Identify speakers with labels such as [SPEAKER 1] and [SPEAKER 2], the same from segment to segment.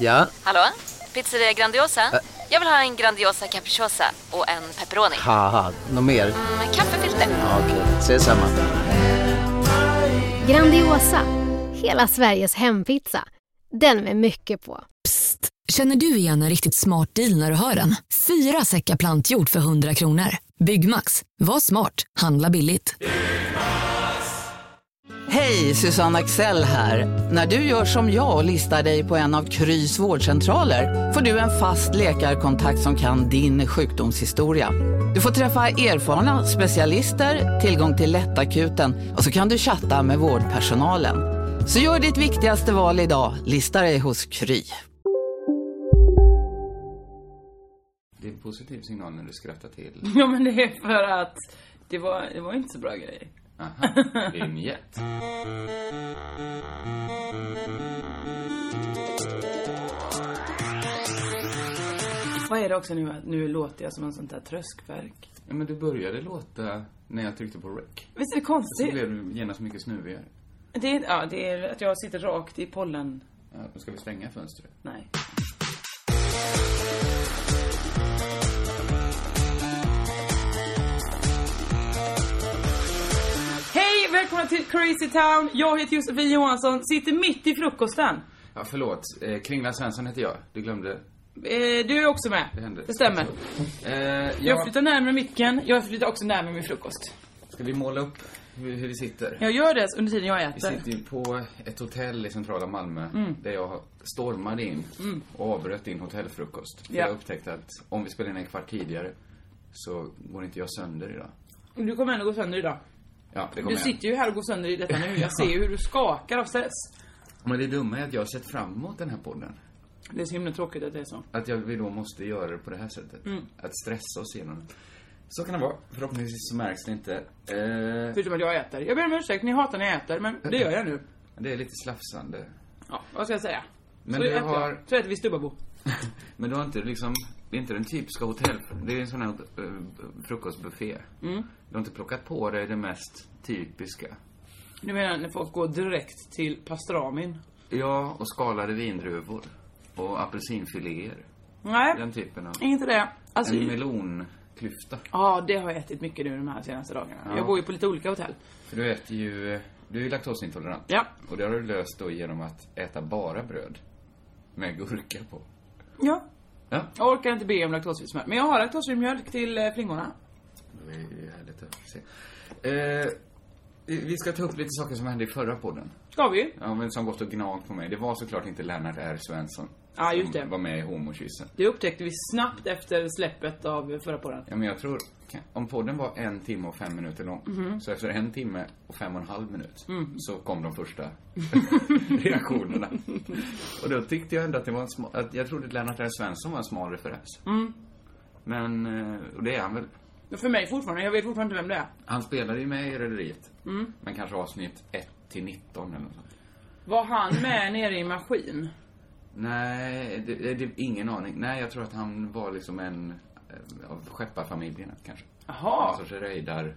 [SPEAKER 1] Ja,
[SPEAKER 2] Hallå? Pizzeria Grandiosa? Jag vill ha en Grandiosa capriciosa och en pepperoni.
[SPEAKER 1] haha, något mer?
[SPEAKER 2] Mm, kaffefilter.
[SPEAKER 1] Ja, Okej, ses samma.
[SPEAKER 3] Grandiosa, hela Sveriges hempizza. Den med mycket på.
[SPEAKER 4] Psst! Känner du igen en riktigt smart deal när du hör den? Fyra säckar plantjord för 100 kronor. Byggmax. Var smart. Handla billigt.
[SPEAKER 5] Hej, Susanne Axel här. När du gör som jag och listar dig på en av Krys vårdcentraler får du en fast läkarkontakt som kan din sjukdomshistoria. Du får träffa erfarna specialister, tillgång till lättakuten och så kan du chatta med vårdpersonalen. Så gör ditt viktigaste val idag, listar dig hos Kry.
[SPEAKER 6] Det är en positiv signal när du skrattar till.
[SPEAKER 7] Ja men det är för att det var, det var inte så bra grejer.
[SPEAKER 6] Aha, vinjett.
[SPEAKER 7] Vad är det också nu att nu låter jag som en sån där tröskverk?
[SPEAKER 6] Ja, men du började låta när jag tryckte på rec.
[SPEAKER 7] Visst är
[SPEAKER 6] Så
[SPEAKER 7] det konstigt?
[SPEAKER 6] blev du genast mycket snuvigare.
[SPEAKER 7] Det är, ja, det är att jag sitter rakt i pollen...
[SPEAKER 6] Ja, då ska vi stänga fönstret.
[SPEAKER 7] Nej. Hej, välkomna till Crazy Town. Jag heter Josefin Johansson, sitter mitt i frukosten.
[SPEAKER 6] Ja, förlåt. Eh, Kringla Svensson heter jag. Du glömde.
[SPEAKER 7] Eh, du är också med.
[SPEAKER 6] Det hände.
[SPEAKER 7] stämmer.
[SPEAKER 6] Eh,
[SPEAKER 7] Jag
[SPEAKER 6] ja,
[SPEAKER 7] flyttar närmare micken, jag flyttar också närmare min frukost.
[SPEAKER 6] ska vi måla upp hur, hur vi sitter?
[SPEAKER 7] Jag gör det under tiden jag
[SPEAKER 6] Vi
[SPEAKER 7] äter.
[SPEAKER 6] sitter ju på ett hotell i centrala Malmö
[SPEAKER 7] Mm.
[SPEAKER 6] där jag stormade in och avbröt din hotellfrukost. För
[SPEAKER 7] Ja.
[SPEAKER 6] jag upptäckte att om vi spelar in en kvart tidigare så går inte jag sönder idag.
[SPEAKER 7] Du kommer ändå gå sönder idag.
[SPEAKER 6] Ja, det kommer
[SPEAKER 7] Du
[SPEAKER 6] jag.
[SPEAKER 7] sitter ju här och går sönder i detta nu. Jag ser ju hur du skakar av stress.
[SPEAKER 6] Men det dumma är att jag har sett fram emot den här podden.
[SPEAKER 7] Det är så himla tråkigt att det är så.
[SPEAKER 6] Att jag, vi då måste göra det på det här sättet. Att stressa oss igenom det. Så kan det vara. Förhoppningsvis så märks det inte. Eh,
[SPEAKER 7] Förutom att jag äter. Jag ber om ursäkt, ni hatar när jag äter, men det gör jag nu.
[SPEAKER 6] det är lite slafsande.
[SPEAKER 7] Ja, vad ska jag säga?
[SPEAKER 6] Men
[SPEAKER 7] så
[SPEAKER 6] du
[SPEAKER 7] äter jag.
[SPEAKER 6] har-
[SPEAKER 7] Så äter vi stubbabo.
[SPEAKER 6] Men du har inte liksom, det är inte den typiska hotell... Det är en sån här eh, frukostbuffé. Du har inte plockat på dig det mest typiska.
[SPEAKER 7] Du menar när folk går direkt till pastramin?
[SPEAKER 6] Ja, och skalade vindruvor. Och apelsinfiléer.
[SPEAKER 7] Nej,
[SPEAKER 6] Den typen av...
[SPEAKER 7] inte det. Alltså,
[SPEAKER 6] En
[SPEAKER 7] ja,
[SPEAKER 6] melonklyfta.
[SPEAKER 7] det har jag ätit mycket nu de här senaste dagarna.
[SPEAKER 6] Ja.
[SPEAKER 7] Jag bor ju på lite olika hotell.
[SPEAKER 6] För du äter ju, du är ju laktosintolerant.
[SPEAKER 7] Ja.
[SPEAKER 6] Och det har du löst då genom att äta bara bröd. Med gurka på.
[SPEAKER 7] Ja.
[SPEAKER 6] Ja.
[SPEAKER 7] Jag orkar inte be om laktosfri smör. Men jag har laktosfri mjölk till eh, flingorna.
[SPEAKER 6] Det är ju härligt att se. Eh, vi ska ta upp lite saker som hände i förra podden.
[SPEAKER 7] Ska vi ju.
[SPEAKER 6] Ja, men som gått och gnagt på mig. Det var såklart inte Lennart R. Svensson.
[SPEAKER 7] Ja, just
[SPEAKER 6] som
[SPEAKER 7] det.
[SPEAKER 6] var med i homokyssen.
[SPEAKER 7] Det upptäckte vi snabbt efter släppet av förra podden.
[SPEAKER 6] Ja, men jag tror, kan- om podden var en timme och fem minuter lång, så efter en timme och fem och en halv minut så kom de första reaktionerna. och då tyckte jag ändå att det var en smal, att jag trodde att Lennart R. Svensson var en smal referens. Men, eh, och det är han väl.
[SPEAKER 7] Men För mig fortfarande, jag vet fortfarande inte vem det är.
[SPEAKER 6] Han spelade ju med i Rederiet, men kanske avsnitt 1 till 19 eller något sånt.
[SPEAKER 7] Var han med nere i maskin?
[SPEAKER 6] Nej, det, det, det, ingen aning. Nej, jag tror att han var liksom en eh, av skepparfamiljerna kanske.
[SPEAKER 7] Jaha,
[SPEAKER 6] En sorts rejdar...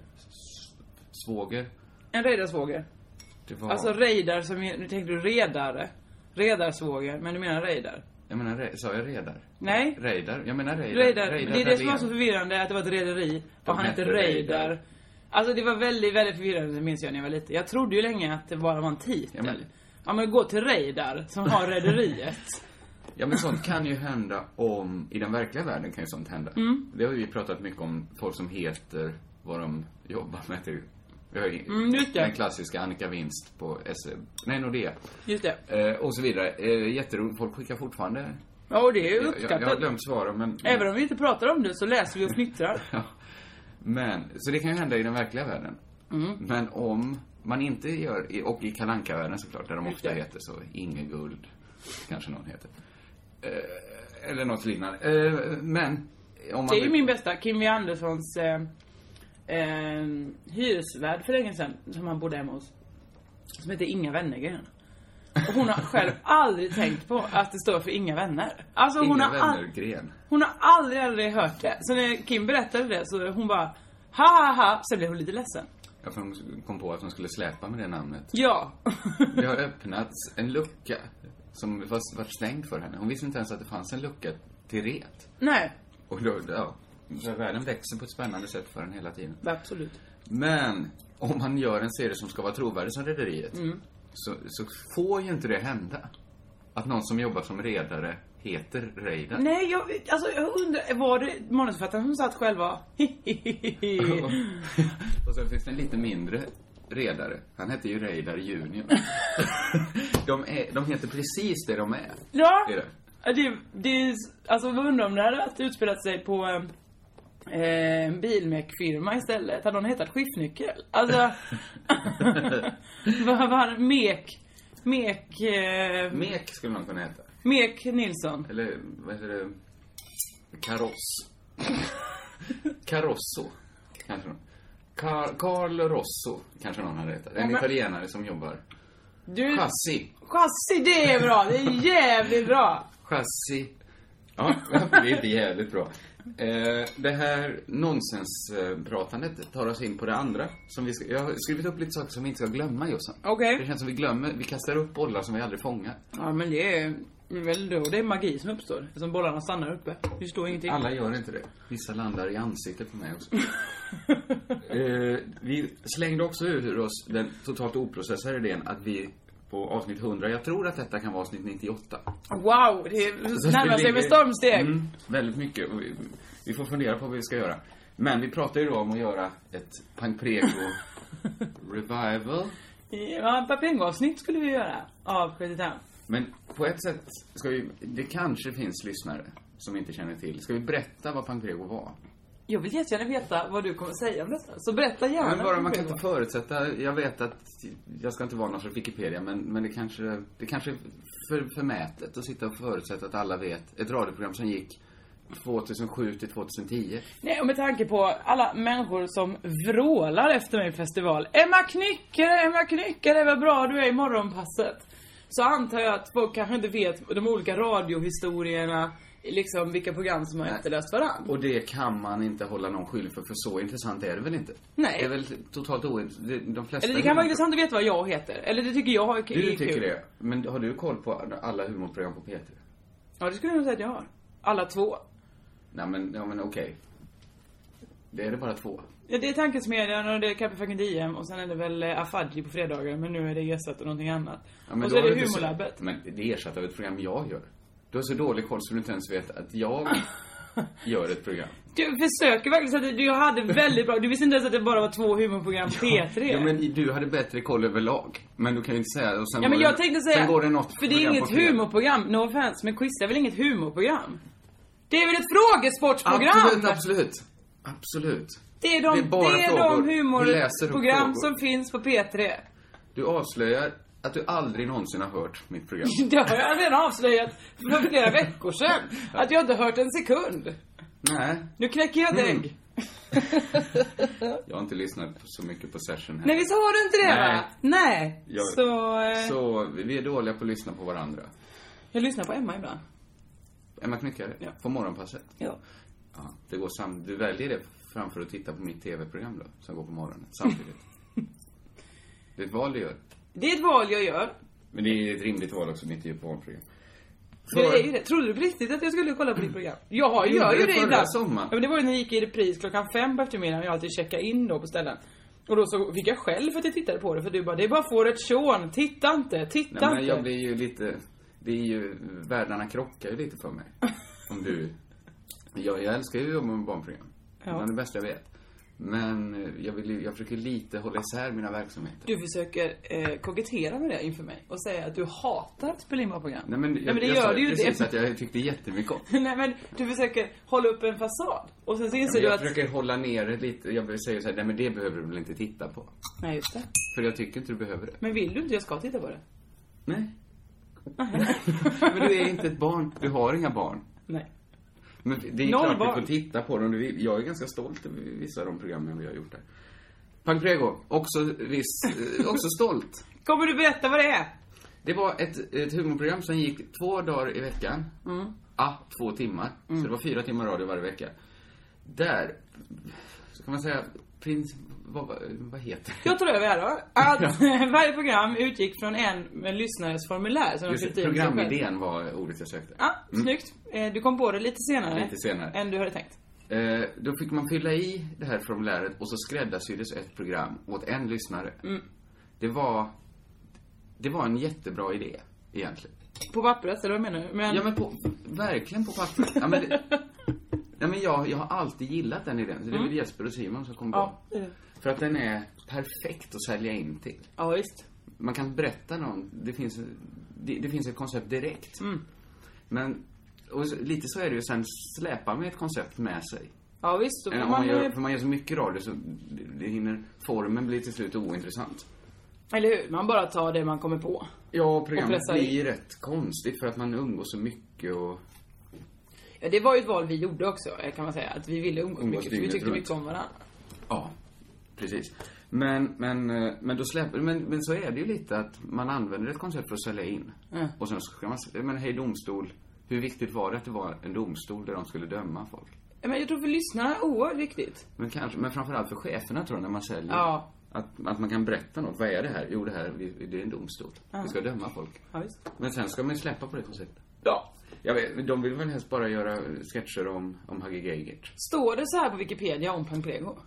[SPEAKER 6] Svåger.
[SPEAKER 7] en rejdarsvåger.
[SPEAKER 6] Det var...
[SPEAKER 7] Alltså rejdar som, nu tänkte du redare. Redarsvåger, men du menar rejdar?
[SPEAKER 6] Jag menar, re- sa jag redar?
[SPEAKER 7] Nej.
[SPEAKER 6] Rejdar? Jag menar rejdar.
[SPEAKER 7] Rejdar, det är det som var
[SPEAKER 6] Dahlén.
[SPEAKER 7] så förvirrande, att det var ett rederi
[SPEAKER 6] De
[SPEAKER 7] och han hette
[SPEAKER 6] hette Reidar.
[SPEAKER 7] rejdar. Alltså det var väldigt, väldigt förvirrande, det minns jag när jag var liten. Jag trodde ju länge att det bara var en
[SPEAKER 6] Ja, men-
[SPEAKER 7] titel. Ja men gå till rejdar, som har rederiet.
[SPEAKER 6] Ja, men sånt kan ju hända om... I den verkliga världen kan ju sånt hända.
[SPEAKER 7] Mm.
[SPEAKER 6] Det har ju vi pratat mycket om. Folk som heter vad de jobbar med till... Vi har ju
[SPEAKER 7] Mm, just det.
[SPEAKER 6] den klassiska Annika Winst på SE... Nej, Nordea.
[SPEAKER 7] Just det.
[SPEAKER 6] Eh, och så vidare. Eh, jätteroligt. Folk skickar fortfarande...
[SPEAKER 7] Ja och det är ju
[SPEAKER 6] Jag, jag, jag har
[SPEAKER 7] uppskattat.
[SPEAKER 6] glömt svara, men...
[SPEAKER 7] Även om vi inte pratar om det så läser vi och fnittrar.
[SPEAKER 6] Ja. Men, så det kan ju hända i den verkliga världen.
[SPEAKER 7] Mm.
[SPEAKER 6] Men om man inte gör, i- och i kalanka världen såklart, där de ofta heter så, Ingeguld, kanske någon heter. Eh, eller något liknande. Eh, men, om man...
[SPEAKER 7] Det är ju
[SPEAKER 6] vill-
[SPEAKER 7] min bästa, Kim V Anderssons eh, eh, hyresvärd för länge sedan, som han bodde hemma hos. Som heter Inga Wennergren. Och hon har själv aldrig tänkt på att det står för Inga Vänner. Alltså hon
[SPEAKER 6] Inga
[SPEAKER 7] har, all,
[SPEAKER 6] Wennergren.
[SPEAKER 7] hon har aldrig, aldrig hört det. Så när Kim berättade det så hon bara ha ha ha, sen blev hon lite ledsen.
[SPEAKER 6] Ja, för de kom på att de skulle släpa med det namnet.
[SPEAKER 7] Ja.
[SPEAKER 6] Det har öppnats en lucka som var, var stängd för henne. Hon visste inte ens att det fanns en lucka till ret.
[SPEAKER 7] Nej,
[SPEAKER 6] Och då, ja, så världen växer på ett spännande sätt för en hela tiden.
[SPEAKER 7] absolut.
[SPEAKER 6] Men om man gör en serie som ska vara trovärdig som Rederiet
[SPEAKER 7] Mm.
[SPEAKER 6] så, så får ju inte det hända. Att någon som jobbar som redare heter Reidar.
[SPEAKER 7] Nej, jag, alltså, jag undrar, var det manusförfattaren som satt själva?
[SPEAKER 6] och sen finns det en lite mindre redare. Han hette ju Reidar Junior. de, är, de heter precis det de är.
[SPEAKER 7] ja,
[SPEAKER 6] Det är det.
[SPEAKER 7] det, det är, alltså vad undrar om det hade varit utspelat sig på eh, en bilmekfirma istället. Hade hon hetat skiftnyckel? Alltså, vad var mek, mek, eh,
[SPEAKER 6] Mek skulle man kunna heta.
[SPEAKER 7] mek Nilsson?
[SPEAKER 6] Eller vad heter det? Kaross. Carosso. Kanske någon. Car- Carl Rosso kanske någon hade hetat. En
[SPEAKER 7] men-
[SPEAKER 6] italienare som jobbar.
[SPEAKER 7] Du,
[SPEAKER 6] Chassi.
[SPEAKER 7] chassi, det är bra, det är jävligt bra.
[SPEAKER 6] Chassi. Ja, det är jävligt bra. Eh, det här nonsenspratandet tar oss in på det andra. Som vi ska, jag har skrivit upp lite saker som vi inte ska glömma, Jossan.
[SPEAKER 7] Okej.
[SPEAKER 6] Det känns som vi glömmer. Vi kastar upp bollar som vi aldrig fångar.
[SPEAKER 7] Ja men det är väl då det är magi som uppstår. Eftersom bollarna stannar uppe. Vi förstår ingenting.
[SPEAKER 6] Alla gör inte det. Vissa landar i ansiktet på mig också. eh, vi slängde också ur oss den totalt oprocessade idén att vi på avsnitt 100, jag tror att detta kan vara avsnitt 98.
[SPEAKER 7] Wow! Det
[SPEAKER 6] Så
[SPEAKER 7] närmar
[SPEAKER 6] Alltså, vi
[SPEAKER 7] sig med
[SPEAKER 6] ligger-
[SPEAKER 7] stormsteg.
[SPEAKER 6] Mm, väldigt mycket. Och vi, vi får fundera på vad vi ska göra. Men vi pratar ju då om att göra ett Pankrego revival.
[SPEAKER 7] Ja, Papengo-avsnitt skulle vi göra av 75.
[SPEAKER 6] Men på ett sätt ska vi, det kanske finns lyssnare som inte känner till. Ska vi berätta vad Pankrego var?
[SPEAKER 7] Jag vill jättegärna veta vad du kommer säga om detta. Så berätta gärna.
[SPEAKER 6] Men bara man kan inte förutsätta. Jag vet att jag ska inte vara någon sorts Wikipedia, men, men det kanske, det kanske är för, förmätet att sitta och förutsätta att alla vet. Ett radioprogram som gick 2007 till 2010.
[SPEAKER 7] Nej, och med tanke på alla människor som vrålar efter mig i festival. Emma Knyckare, Emma Knyckare, vad bra du är i morgonpasset. Så antar jag att folk kanske inte vet de olika radiohistorierna, liksom vilka program som har efterlöst varandra.
[SPEAKER 6] Och det kan man inte hålla någon skyldig för, för så intressant är det väl inte?
[SPEAKER 7] Nej.
[SPEAKER 6] Det är väl totalt ointressant. De flesta...
[SPEAKER 7] Eller det kan vara intressant att veta vad jag heter. Eller det tycker jag är kul.
[SPEAKER 6] Du tycker det. Men har du koll på alla humorprogram på P3?
[SPEAKER 7] Ja, det skulle jag nog säga att jag har. Alla två.
[SPEAKER 6] Nej men, ja men okej. Det är det bara två.
[SPEAKER 7] Ja, det är Tankesmedjan och det är Café Fucking DM och sen är det väl eh, Afaji på fredagar men nu är det ersatt av någonting annat.
[SPEAKER 6] Ja, men då
[SPEAKER 7] och så är
[SPEAKER 6] har
[SPEAKER 7] det
[SPEAKER 6] du inte så-
[SPEAKER 7] Humorlabbet.
[SPEAKER 6] Men det är ersatt av ett program jag gör. Du har så dålig koll så du inte ens vet att jag gör ett program.
[SPEAKER 7] Du försöker verkligen så att du- du hade väldigt bra, du visste inte ens att det bara var två humorprogram P3.
[SPEAKER 6] Ja, men du hade bättre koll överlag. Men du kan ju inte säga... Och sen
[SPEAKER 7] Ja men
[SPEAKER 6] var
[SPEAKER 7] jag
[SPEAKER 6] det,
[SPEAKER 7] tänkte säga,
[SPEAKER 6] Sen går det något
[SPEAKER 7] för det är
[SPEAKER 6] program på
[SPEAKER 7] inget
[SPEAKER 6] TV.
[SPEAKER 7] humorprogram, no offense, men quiz är väl inget humorprogram? Det är väl ett frågesportprogram?
[SPEAKER 6] Absolut, absolut. Absolut.
[SPEAKER 7] Det är de,
[SPEAKER 6] Det är bara
[SPEAKER 7] det är
[SPEAKER 6] frågor.
[SPEAKER 7] de
[SPEAKER 6] Vi läser upp
[SPEAKER 7] humorprogram
[SPEAKER 6] frågor.
[SPEAKER 7] som finns på P3.
[SPEAKER 6] Du avslöjar att du aldrig någonsin har hört mitt program.
[SPEAKER 7] Det har jag redan avslöjat för flera veckor sedan. Att jag inte hört en sekund.
[SPEAKER 6] Nej,
[SPEAKER 7] Nu knäcker jag ett
[SPEAKER 6] Mm.
[SPEAKER 7] ägg.
[SPEAKER 6] jag har inte lyssnat på- så mycket på session här.
[SPEAKER 7] Nej visst har du inte det
[SPEAKER 6] Nej.
[SPEAKER 7] va? Nej.
[SPEAKER 6] Jag-
[SPEAKER 7] Så, eh,
[SPEAKER 6] Så vi vi är dåliga på att lyssna på varandra.
[SPEAKER 7] jag lyssnar på Emma ibland.
[SPEAKER 6] Emma Knyckare,
[SPEAKER 7] Ja.
[SPEAKER 6] på morgonpasset.
[SPEAKER 7] Ja.
[SPEAKER 6] Ja, det går sam- du väljer det framför att titta på mitt tv-program då, som går på morgonen samtidigt. det är ett val du gör.
[SPEAKER 7] Det är ett val jag gör.
[SPEAKER 6] Men det är ett rimligt val också, mitt ju på morgonprogram.
[SPEAKER 7] Det är ju det. Trodde du på riktigt att jag skulle kolla på ditt program? Jag har-
[SPEAKER 6] gjorde
[SPEAKER 7] gör ju
[SPEAKER 6] det
[SPEAKER 7] det
[SPEAKER 6] förra
[SPEAKER 7] ibland.
[SPEAKER 6] sommaren.
[SPEAKER 7] Ja, men det var ju när jag gick i repris klockan fem på eftermiddagen och jag alltid checkade in då på ställen. Och då så fick jag skäll för att jag tittade på det för du bara, det är bara fåret Sean, titta inte, titta
[SPEAKER 6] Nej, men
[SPEAKER 7] inte.
[SPEAKER 6] jag blir ju lite... Det är ju... Världarna krockar ju lite för mig. Om du... Jag, jag älskar ju att jobba med barnprogram.
[SPEAKER 7] Ja.
[SPEAKER 6] Det är det bästa jag vet. Men eh, jag, vill ju, jag försöker lite hålla isär mina verksamheter.
[SPEAKER 7] Du försöker eh, kokettera med det inför mig och säga att du hatar att spela in våra program.
[SPEAKER 6] Nej, men, jag,
[SPEAKER 7] Nej, men det
[SPEAKER 6] jag
[SPEAKER 7] gör
[SPEAKER 6] sa
[SPEAKER 7] du ju inte.
[SPEAKER 6] precis att jag tyckte jättemycket om.
[SPEAKER 7] Nej men du försöker hålla upp en fasad. Och sen så
[SPEAKER 6] Ja,
[SPEAKER 7] inser
[SPEAKER 6] men jag
[SPEAKER 7] du att...
[SPEAKER 6] försöker hålla nere lite. Jag säger så här, nej men det behöver du väl inte titta på.
[SPEAKER 7] Nej just det.
[SPEAKER 6] För jag tycker inte du behöver det.
[SPEAKER 7] Men vill du inte jag ska titta på det?
[SPEAKER 6] Nej. men du är inte ett barn. Du har inga barn.
[SPEAKER 7] Nej.
[SPEAKER 6] Men det är
[SPEAKER 7] Noll
[SPEAKER 6] klart
[SPEAKER 7] barn.
[SPEAKER 6] du får titta på dem. Du- Jag är ganska stolt över vissa av de programmen vi har gjort där. Pankrego, också, viss, eh, också stolt.
[SPEAKER 7] Kommer du berätta vad det är?
[SPEAKER 6] Det var ett, ett humorprogram som gick två dagar i veckan. Mm. Ah,
[SPEAKER 7] Mm.
[SPEAKER 6] två timmar. Så det var fyra timmar radio varje vecka. Där, så kan man säga, Prins... Vad, vad- vad heter det?
[SPEAKER 7] Jag tror över här då. Att varje program utgick från en med lyssnares formulär som de
[SPEAKER 6] Just,
[SPEAKER 7] fyllde
[SPEAKER 6] det,
[SPEAKER 7] i med sig själv.
[SPEAKER 6] programidén var ordet jag sökte.
[SPEAKER 7] Ja, snyggt. Eh, Du kom på det lite senare.
[SPEAKER 6] Lite senare.
[SPEAKER 7] Än du hade tänkt.
[SPEAKER 6] Eh, då fick man fylla i det här formuläret och så skräddarsyddes ett program åt en lyssnare. Det var... Det var en jättebra idé, egentligen.
[SPEAKER 7] På pappret, eller vad menar du? Men,
[SPEAKER 6] Ja men på, verkligen på pappret. Ja, men det, nej, men jag, jag har alltid gillat den idén. Så det är väl Jesper och Simon som kom på.
[SPEAKER 7] Ja, det är det.
[SPEAKER 6] För att den är perfekt att sälja in till.
[SPEAKER 7] ja visst.
[SPEAKER 6] Man kan berätta någon, det finns, det, det finns ett koncept direkt. Men, och så- lite så är det ju, sen släpar man ett koncept med sig.
[SPEAKER 7] Ja, visst. Då
[SPEAKER 6] Äh,
[SPEAKER 7] får
[SPEAKER 6] Om man
[SPEAKER 7] man,
[SPEAKER 6] gör,
[SPEAKER 7] eh,
[SPEAKER 6] för man gör så mycket radio så det, det hinner, formen blir till slut ointressant.
[SPEAKER 7] Eller hur? Man bara tar det man kommer på.
[SPEAKER 6] Ja,
[SPEAKER 7] programmet
[SPEAKER 6] programmet
[SPEAKER 7] blir
[SPEAKER 6] blir ju rätt konstigt för att man umgås så mycket och...
[SPEAKER 7] Ja, det var ju ett val vi gjorde också, eh, kan man säga. Att vi ville umgås
[SPEAKER 6] Umgås
[SPEAKER 7] mycket, för vi
[SPEAKER 6] dygnet
[SPEAKER 7] tyckte
[SPEAKER 6] runt.
[SPEAKER 7] mycket om varandra.
[SPEAKER 6] Ja, precis. Men, men, eh, men, då släpper, men, men så är det ju lite att man använder ett koncept för att sälja in.
[SPEAKER 7] Mm.
[SPEAKER 6] Och sen ska man säga, men hej domstol. Hur viktigt var det att det var en domstol där de skulle döma folk?
[SPEAKER 7] Ja, Men jag tror för lyssnarna är oerhört viktigt.
[SPEAKER 6] Men, kanske, men framförallt för cheferna tror jag, när man säljer.
[SPEAKER 7] Ja.
[SPEAKER 6] Att, att man kan berätta något. Vad är det här? Jo, det här vi- det är en domstol. Vi ska döma folk.
[SPEAKER 7] Ja, visst.
[SPEAKER 6] Men sen ska man ju släppa på det konceptet. Ja. Jag vet, men de vill väl helst bara göra sketcher om, om Hagge Geigert.
[SPEAKER 7] Står det så här på Wikipedia om Pamplego?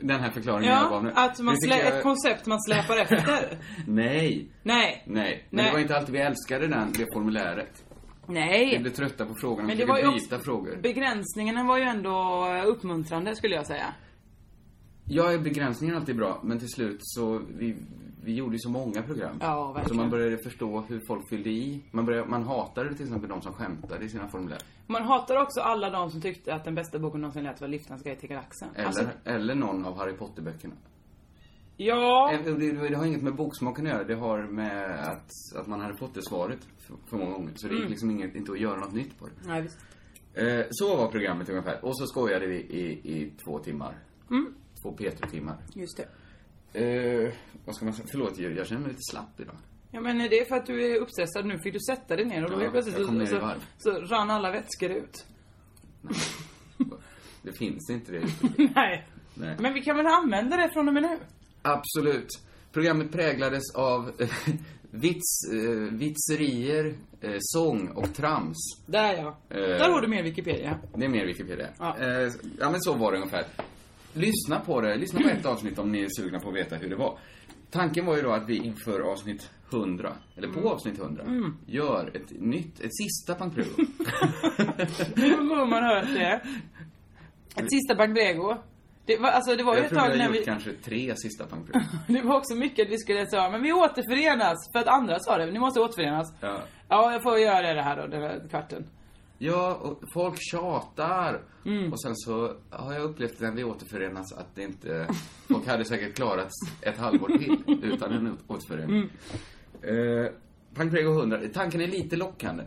[SPEAKER 6] Den här förklaringen jag gav
[SPEAKER 7] Ja,
[SPEAKER 6] nu.
[SPEAKER 7] att man
[SPEAKER 6] Det tycker
[SPEAKER 7] slä,
[SPEAKER 6] jag-
[SPEAKER 7] ett koncept man släpar efter.
[SPEAKER 6] Nej.
[SPEAKER 7] Nej.
[SPEAKER 6] Nej, men
[SPEAKER 7] Nej.
[SPEAKER 6] det var inte alltid vi älskade den, det formuläret. Vi
[SPEAKER 7] Nej.
[SPEAKER 6] blev trötta på frågorna,
[SPEAKER 7] Men
[SPEAKER 6] vi
[SPEAKER 7] det var ju
[SPEAKER 6] försökte
[SPEAKER 7] också,
[SPEAKER 6] byta frågor.
[SPEAKER 7] begränsningarna var ju ändå uppmuntrande skulle jag säga.
[SPEAKER 6] Ja, begränsningen är alltid bra, men till slut så, vi, vi gjorde ju så många program.
[SPEAKER 7] Ja, verkligen.
[SPEAKER 6] Så man började förstå hur folk fyllde i. Man, började, man hatade till exempel de som skämtade i sina formulär.
[SPEAKER 7] Man hatar också alla de som tyckte att den bästa boken någonsin lät var Liftans guide till galaxen.
[SPEAKER 6] Eller,
[SPEAKER 7] Alltså,
[SPEAKER 6] eller någon av Harry Potter-böckerna.
[SPEAKER 7] ja,
[SPEAKER 6] Eh, och Det, det har inget med boksmaken att göra, det har med att, att man hade fått det svaret för, för många gånger. Så det gick liksom inget, inte att göra något nytt på det.
[SPEAKER 7] nej, visst.
[SPEAKER 6] Eh, så var programmet ungefär. Och så skojade vi i, i två timmar. Två P3-timmar.
[SPEAKER 7] just det.
[SPEAKER 6] Eh, vad ska man säga? Förlåt, jag, jag känner mig lite slapp idag.
[SPEAKER 7] Ja men det är för att du är uppstressad nu, fick du sätta dig ner och då
[SPEAKER 6] Ja,
[SPEAKER 7] helt plötsligt
[SPEAKER 6] jag kom ner i
[SPEAKER 7] så,
[SPEAKER 6] varv.
[SPEAKER 7] så rann alla vätskor ut.
[SPEAKER 6] Det finns inte det.
[SPEAKER 7] nej.
[SPEAKER 6] Nej.
[SPEAKER 7] Men vi kan väl använda det från och med nu?
[SPEAKER 6] Absolut. Programmet präglades av vits, eh, vitserier, eh, sång och trams.
[SPEAKER 7] Där ja.
[SPEAKER 6] Eh.
[SPEAKER 7] Där har du mer Wikipedia.
[SPEAKER 6] Det är mer Wikipedia.
[SPEAKER 7] Ja.
[SPEAKER 6] Eh, ja, men så var det ungefär. Lyssna på det. Lyssna på ett avsnitt om ni är sugna på att veta hur det var. Tanken var ju då att vi inför avsnitt 100, eller på
[SPEAKER 7] Mm.
[SPEAKER 6] avsnitt 100, gör ett nytt, ett sista Pankrugo.
[SPEAKER 7] Nu har man hört det. Ett sista Bagdego. Det var, alltså, det var ju
[SPEAKER 6] Jag
[SPEAKER 7] ett
[SPEAKER 6] tror vi
[SPEAKER 7] tag
[SPEAKER 6] har
[SPEAKER 7] när
[SPEAKER 6] gjort
[SPEAKER 7] vi...
[SPEAKER 6] kanske tre sista Pankrugo.
[SPEAKER 7] Det var också mycket att vi skulle säga, men vi återförenas. För att andra sa det, ni måste återförenas.
[SPEAKER 6] Ja.
[SPEAKER 7] Ja, jag får göra det här då, den här kvarten.
[SPEAKER 6] Ja, och folk tjatar.
[SPEAKER 7] Mm.
[SPEAKER 6] Och sen så har jag upplevt när vi återförenas att det inte... Folk hade säkert klarat ett halvår till utan en åt- återförening. Mm. Eh, Pankrego 100. Tanken är lite lockande.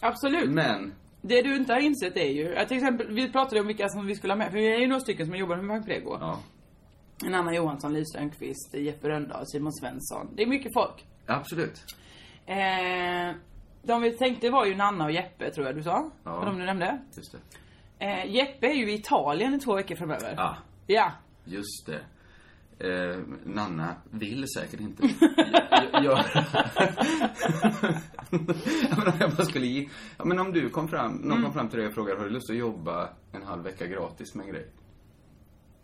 [SPEAKER 7] Absolut.
[SPEAKER 6] Men,
[SPEAKER 7] Det du inte har insett är ju, att till exempel, vi pratade om vilka som vi skulle ha med, för vi är ju några stycken som jobbar med Bagdego.
[SPEAKER 6] ja.
[SPEAKER 7] En Anna Johansson, Liv Strömquist, Jeppe Rönndahl, Simon Svensson. Det är mycket folk.
[SPEAKER 6] Absolut.
[SPEAKER 7] Eh, de vi tänkte var ju Nanna och Jeppe, tror jag du sa.
[SPEAKER 6] Ja.
[SPEAKER 7] Ja. De du nämnde.
[SPEAKER 6] Just det.
[SPEAKER 7] Eh, Jeppe är ju i Italien i två veckor framöver.
[SPEAKER 6] Ja,
[SPEAKER 7] Ja.
[SPEAKER 6] just det. Eh, Nanna vill säkert inte. Jag, jag, jag, jag menar, om jag bara skulle ge, ja, men om du kom fram, någon kom fram till dig och frågade har du lust att jobba en halv vecka gratis med en grej?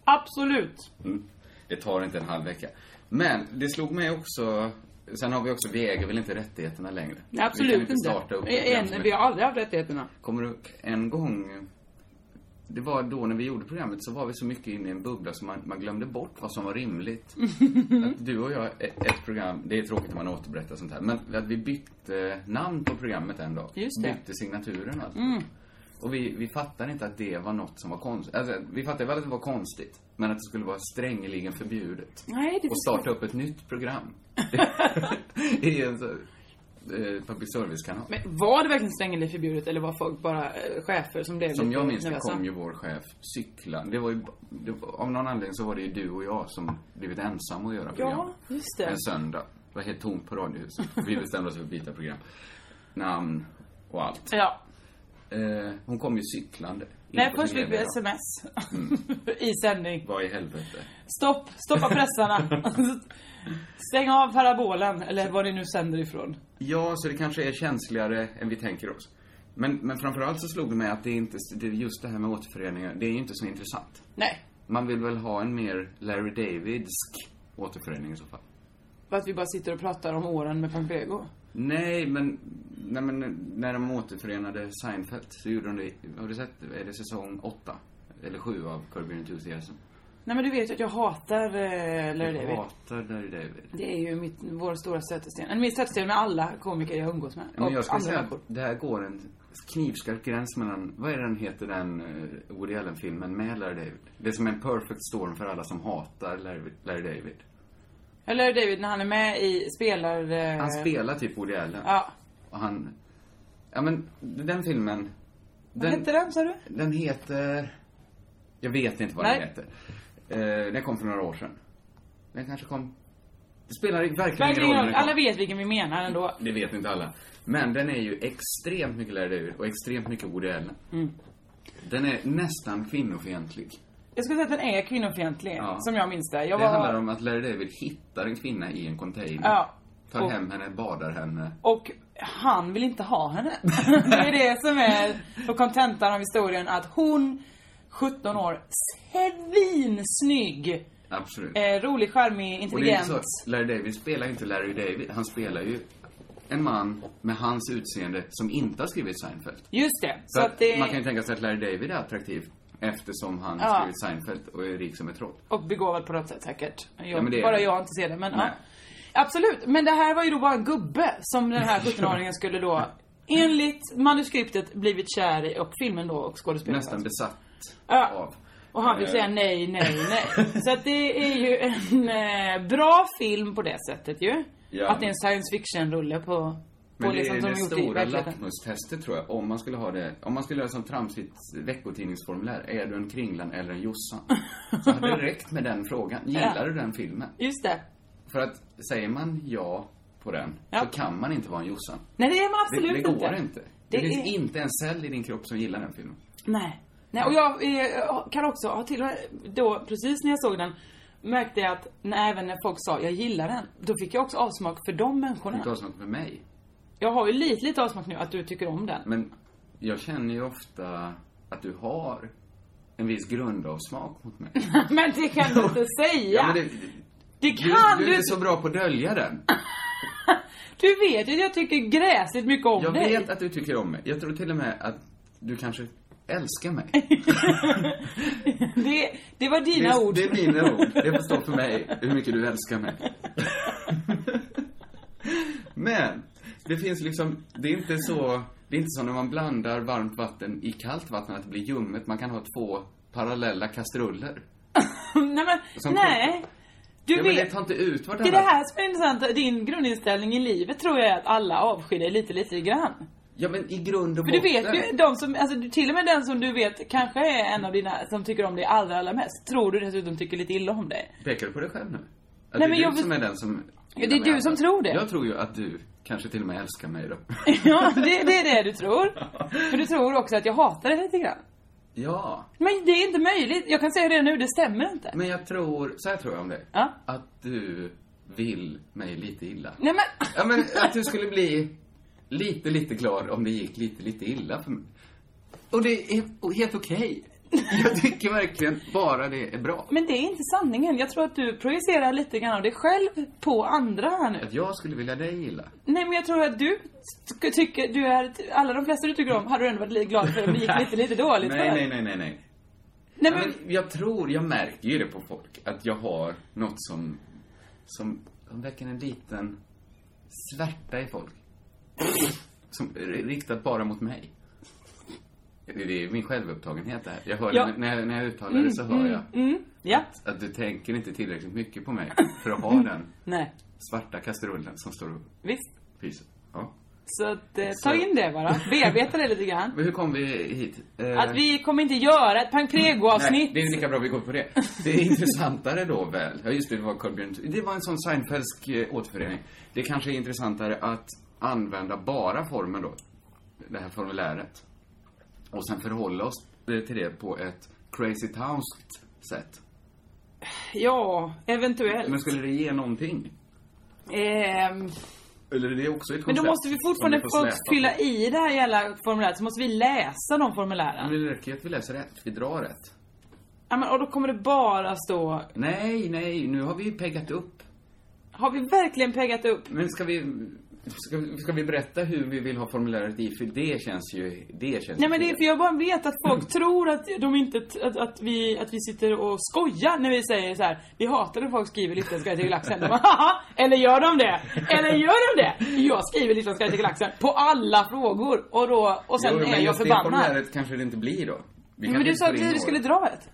[SPEAKER 7] Absolut.
[SPEAKER 6] Mm. Det tar inte en halv vecka. Men det slog mig också... Sen har vi också, vi äger väl inte rättigheterna längre? vi kan
[SPEAKER 7] Absolut Eh,
[SPEAKER 6] inte. starta upp ett program som
[SPEAKER 7] en, Vi har aldrig haft rättigheterna.
[SPEAKER 6] Kommer du en gång... Det var då när vi gjorde programmet så var vi så mycket inne i en bubbla så man, man glömde bort vad som var rimligt. att du och jag, e- ett program, det är tråkigt när man återberättar sånt här, men att vi bytte namn på programmet en dag.
[SPEAKER 7] Just det. Mm.
[SPEAKER 6] Bytte signaturen och allt. Och vi, vi fattade inte att det var något som var konstigt. Alltså, vi fattade väl att det var konstigt, men att det skulle vara strängeligen förbjudet.
[SPEAKER 7] Nej, det
[SPEAKER 6] och
[SPEAKER 7] förstår
[SPEAKER 6] starta upp ett nytt program. I en så, eh, public service-kanal.
[SPEAKER 7] Men var det verkligen strängeligen förbjudet eller var folk bara eh, chefer som blev
[SPEAKER 6] Som
[SPEAKER 7] lite
[SPEAKER 6] jag minns det
[SPEAKER 7] nervösa?
[SPEAKER 6] kom ju vår chef cykla. Det var ju, det, var- av någon anledning så var det ju du och jag som blivit ensam att göra program.
[SPEAKER 7] just det.
[SPEAKER 6] En söndag. Det var helt tomt på Radiohuset. Vi bestämde oss för att byta program. Namn och allt.
[SPEAKER 7] Ja.
[SPEAKER 6] Eh, Eh, hon kom ju cyklande.
[SPEAKER 7] Nej,
[SPEAKER 6] In på Mm.
[SPEAKER 7] först
[SPEAKER 6] sin
[SPEAKER 7] fick vi
[SPEAKER 6] lediga dag.
[SPEAKER 7] sms. I sändning.
[SPEAKER 6] Vad i helvete?
[SPEAKER 7] Stopp, stoppa pressarna. Stäng av parabolen, eller var ni nu sänder ifrån.
[SPEAKER 6] Ja, så det kanske är känsligare än vi tänker oss. Men, men framförallt så slog det mig att det är inte, det är just det här med återföreningar, det är ju inte så intressant.
[SPEAKER 7] Nej,
[SPEAKER 6] Man vill väl ha en mer Larry Davidsk återförening i så fall.
[SPEAKER 7] för att vi bara sitter och pratar om åren med Pankrego.
[SPEAKER 6] Nej, men, nej, men när de återförenade Seinfeld så gjorde de det, har du sett, det? är det säsong åtta? Eller sju av Curb Your Enthusiasm?
[SPEAKER 7] Nej men du vet ju att jag hatar eh,
[SPEAKER 6] Jag
[SPEAKER 7] Larry David.
[SPEAKER 6] hatar Larry David.
[SPEAKER 7] Det är ju mitt, vår stora stötesten. Eller min stötesten med alla komiker jag umgås med.
[SPEAKER 6] Men
[SPEAKER 7] Och
[SPEAKER 6] jag skulle
[SPEAKER 7] andra
[SPEAKER 6] säga
[SPEAKER 7] människor.
[SPEAKER 6] att det här går en knivskarp gräns mellan, vad är den heter den eh, Woody Allen-filmen med Larry David? Det är som en perfect storm för alla som hatar Larry, Larry David.
[SPEAKER 7] Eller David när han är med i spelar... Eh,
[SPEAKER 6] Han spelar typ Woody Allen.
[SPEAKER 7] Ja.
[SPEAKER 6] Och han, ja men den filmen.
[SPEAKER 7] Vad hette den sa du?
[SPEAKER 6] Den heter... Jag vet inte vad den
[SPEAKER 7] Nej.
[SPEAKER 6] heter. Eh, den kom för några år sedan. Den kanske kom... Det spelar verkligen ingen roll.
[SPEAKER 7] Verkligen,
[SPEAKER 6] när den kom.
[SPEAKER 7] alla vet vilken vi menar ändå.
[SPEAKER 6] Det vet inte alla. Men den är ju extremt mycket Larry David och extremt mycket Woody Allen.
[SPEAKER 7] Mm.
[SPEAKER 6] Den är nästan kvinnofientlig.
[SPEAKER 7] Jag skulle säga att den är kvinnofientlig,
[SPEAKER 6] Ja.
[SPEAKER 7] som jag minns det. Jag
[SPEAKER 6] Det
[SPEAKER 7] var,
[SPEAKER 6] handlar om att Larry David hittar en kvinna i en container.
[SPEAKER 7] Ja.
[SPEAKER 6] Tar
[SPEAKER 7] Och-
[SPEAKER 6] hem henne, badar henne.
[SPEAKER 7] Och han vill inte ha henne. det är det som är och kontentan av historien. Att hon, 17 år, svinsnygg.
[SPEAKER 6] Absolut.
[SPEAKER 7] Eh, rolig, charmig,
[SPEAKER 6] Och det är
[SPEAKER 7] intelligent.
[SPEAKER 6] ju så att Larry David spelar inte Larry David. Han spelar ju en man med hans utseende som inte har skrivit Seinfeld.
[SPEAKER 7] Just det. Så,
[SPEAKER 6] Så
[SPEAKER 7] att det...
[SPEAKER 6] Man kan ju tänka sig att Larry David är attraktiv eftersom han
[SPEAKER 7] Ja.
[SPEAKER 6] har skrivit Seinfeld och är rik som ett rått.
[SPEAKER 7] Och begåvad på något sätt säkert. Jag,
[SPEAKER 6] men det är
[SPEAKER 7] bara
[SPEAKER 6] det.
[SPEAKER 7] jag inte ser det, men ja.
[SPEAKER 6] Nej.
[SPEAKER 7] Absolut, men det här var ju då bara en gubbe som den här 17-åringen skulle då enligt manuskriptet blivit kär i och filmen då och skådespelaren.
[SPEAKER 6] Nästan besatt
[SPEAKER 7] Ja.
[SPEAKER 6] av.
[SPEAKER 7] Och han fick
[SPEAKER 6] Eh.
[SPEAKER 7] säga nej, nej, nej. Så att det är ju en eh, bra film på det sättet ju.
[SPEAKER 6] Ja,
[SPEAKER 7] att det är en
[SPEAKER 6] men-
[SPEAKER 7] science fiction-rulle på, på
[SPEAKER 6] Men det
[SPEAKER 7] liksom
[SPEAKER 6] är
[SPEAKER 7] som
[SPEAKER 6] det
[SPEAKER 7] de gjort i
[SPEAKER 6] stora
[SPEAKER 7] verkligheten.
[SPEAKER 6] lackmustestet tror jag. Om man skulle ha det, om man skulle göra som tramsigt veckotidningsformulär. Är du en Kringlan eller en Jossan? Så hade det räckt med den frågan. Gillar
[SPEAKER 7] Ja.
[SPEAKER 6] du den filmen?
[SPEAKER 7] Just det.
[SPEAKER 6] För att säger man ja på den,
[SPEAKER 7] Ja.
[SPEAKER 6] så kan man inte vara en Jossan.
[SPEAKER 7] Nej, det är man
[SPEAKER 6] Det,
[SPEAKER 7] absolut
[SPEAKER 6] det går inte. Det,
[SPEAKER 7] Det
[SPEAKER 6] finns
[SPEAKER 7] är-
[SPEAKER 6] inte en cell i din kropp som gillar den filmen.
[SPEAKER 7] Nej. Nej, och jag eh, kan också, ja, till och med då, precis när jag såg den, märkte jag att när, även när folk sa jag gillar den, då fick jag också avsmak för de
[SPEAKER 6] Det
[SPEAKER 7] människorna.
[SPEAKER 6] gav något för mig.
[SPEAKER 7] Jag har ju lite, lite avsmak nu att du tycker om den.
[SPEAKER 6] Men jag känner ju ofta att du har en viss grundavsmak mot mig. Ja,
[SPEAKER 7] Men det kan du inte säga!
[SPEAKER 6] men
[SPEAKER 7] det,
[SPEAKER 6] det,
[SPEAKER 7] kan
[SPEAKER 6] du,
[SPEAKER 7] du,
[SPEAKER 6] du är inte så bra på att dölja den.
[SPEAKER 7] Du vet ju att jag tycker gräsligt mycket om
[SPEAKER 6] Jag
[SPEAKER 7] dig.
[SPEAKER 6] vet att du tycker om mig. Jag tror till och med att du kanske älskar mig.
[SPEAKER 7] Det, det var dina
[SPEAKER 6] det, är-
[SPEAKER 7] ord.
[SPEAKER 6] Det är mina ord. Det får stå för mig hur mycket du älskar mig. Men, det finns liksom, det är inte så, det är inte så när man blandar varmt vatten i kallt vatten att det blir ljummet. Man kan ha två parallella kastruller.
[SPEAKER 7] nej men,
[SPEAKER 6] Som-
[SPEAKER 7] nej. Du
[SPEAKER 6] ja, men det
[SPEAKER 7] vet.
[SPEAKER 6] tar inte ut
[SPEAKER 7] Det är det
[SPEAKER 6] vartannat.
[SPEAKER 7] här som är intressant. Din grundinställning i livet tror jag är att alla avskyr dig lite, lite grann.
[SPEAKER 6] Ja, men i grund och
[SPEAKER 7] För
[SPEAKER 6] botten.
[SPEAKER 7] du vet ju, de som, alltså du- till och med den som du vet kanske är en av dina som tycker om dig allra, allra mest, tror du dessutom tycker lite illa om dig.
[SPEAKER 6] Pekar du på dig själv nu? Att det
[SPEAKER 7] Nej, men
[SPEAKER 6] är
[SPEAKER 7] jag
[SPEAKER 6] du
[SPEAKER 7] vet-
[SPEAKER 6] som är den som...
[SPEAKER 7] Ja, det är du som tror det.
[SPEAKER 6] Jag tror ju att du kanske till och med älskar mig då.
[SPEAKER 7] Ja, det, det är det du tror. För du tror också att jag hatar dig lite grann.
[SPEAKER 6] ja.
[SPEAKER 7] Men det är inte möjligt, jag kan säga det nu, det stämmer inte.
[SPEAKER 6] Men jag tror, så här tror jag om dig.
[SPEAKER 7] Ja.
[SPEAKER 6] Att du vill mig lite illa.
[SPEAKER 7] Nej men,
[SPEAKER 6] Ja, men att du skulle bli lite, lite glad om det gick lite, lite illa för mig. Och det är helt okej. Jag tycker verkligen bara det är bra.
[SPEAKER 7] men det är inte sanningen. Jag tror att du projicerar lite grann av dig själv på andra här nu.
[SPEAKER 6] Att jag skulle vilja dig illa.
[SPEAKER 7] Nej men jag tror att du sk- tycker, du är, alla de flesta du tycker om hade du ändå varit li- glad för om det gick lite, lite dåligt
[SPEAKER 6] Nej,
[SPEAKER 7] för.
[SPEAKER 6] nej, nej, nej, nej.
[SPEAKER 7] nej
[SPEAKER 6] Ja,
[SPEAKER 7] men,
[SPEAKER 6] men jag tror, jag märker ju det på folk, att jag har något som, som, som väcker en liten svärta i folk. Som är riktat bara mot mig. Det är min självupptagenhet det här. Jag hör
[SPEAKER 7] Ja. Mm,
[SPEAKER 6] det, när, jag, när jag uttalar det så hör jag
[SPEAKER 7] ja.
[SPEAKER 6] att du tänker inte tillräckligt mycket på mig för att
[SPEAKER 7] Mm.
[SPEAKER 6] ha den
[SPEAKER 7] Nej.
[SPEAKER 6] svarta kastrullen som står och
[SPEAKER 7] Visst.
[SPEAKER 6] pyser. Ja.
[SPEAKER 7] Så att, eh,
[SPEAKER 6] Så-
[SPEAKER 7] ta in det bara. Bearbeta det lite grann.
[SPEAKER 6] Men hur kom vi hit? Eh,
[SPEAKER 7] Att vi kommer inte göra ett
[SPEAKER 6] Nej,
[SPEAKER 7] Pancrego-avsnitt.
[SPEAKER 6] det är lika bra vi går på det. Det är intressantare då väl. Ja, just det, det var Carl Björn. Det var en sån Seinfeldsk eh, återförening. Det kanske är intressantare att använda bara formen då. Det här formuläret. Och sen förhålla oss eh, till det på ett crazy townskt sätt.
[SPEAKER 7] Ja, eventuellt.
[SPEAKER 6] Men skulle det ge någonting?
[SPEAKER 7] Ehm,
[SPEAKER 6] Eller är det också ett
[SPEAKER 7] men då
[SPEAKER 6] koncept
[SPEAKER 7] måste vi
[SPEAKER 6] som
[SPEAKER 7] fortfarande
[SPEAKER 6] får
[SPEAKER 7] få
[SPEAKER 6] släpa på?
[SPEAKER 7] fylla i det här jävla formuläret, så måste vi läsa de
[SPEAKER 6] Men
[SPEAKER 7] formulären.
[SPEAKER 6] det räcker ju att vi läser rätt, vi drar rätt.
[SPEAKER 7] Ja, men, och då kommer det bara stå...
[SPEAKER 6] Nej, nej, nu har vi ju peggat upp.
[SPEAKER 7] Har vi verkligen peggat upp?
[SPEAKER 6] Men ska vi... Ska, ska vi berätta hur vi vill ha formuläret i? För det känns ju... Det känns
[SPEAKER 7] Nej
[SPEAKER 6] ju
[SPEAKER 7] men det är
[SPEAKER 6] fel.
[SPEAKER 7] för jag bara vet att folk tror att de inte, t- att, att, vi, att vi sitter och skojar när vi säger så här. Vi hatar när folk skriver Liptons sky till galaxen. De bara, Haha, eller gör de det? Eller gör de det? Jag skriver Liptons sky till galaxen på alla frågor och då, och sen
[SPEAKER 6] Jo, men
[SPEAKER 7] är jag
[SPEAKER 6] just Det
[SPEAKER 7] förbannad.
[SPEAKER 6] formuläret kanske det inte blir då. Vi
[SPEAKER 7] Men
[SPEAKER 6] kanske
[SPEAKER 7] du
[SPEAKER 6] inte
[SPEAKER 7] sa
[SPEAKER 6] får
[SPEAKER 7] att
[SPEAKER 6] in
[SPEAKER 7] vi
[SPEAKER 6] några.
[SPEAKER 7] skulle dra ett.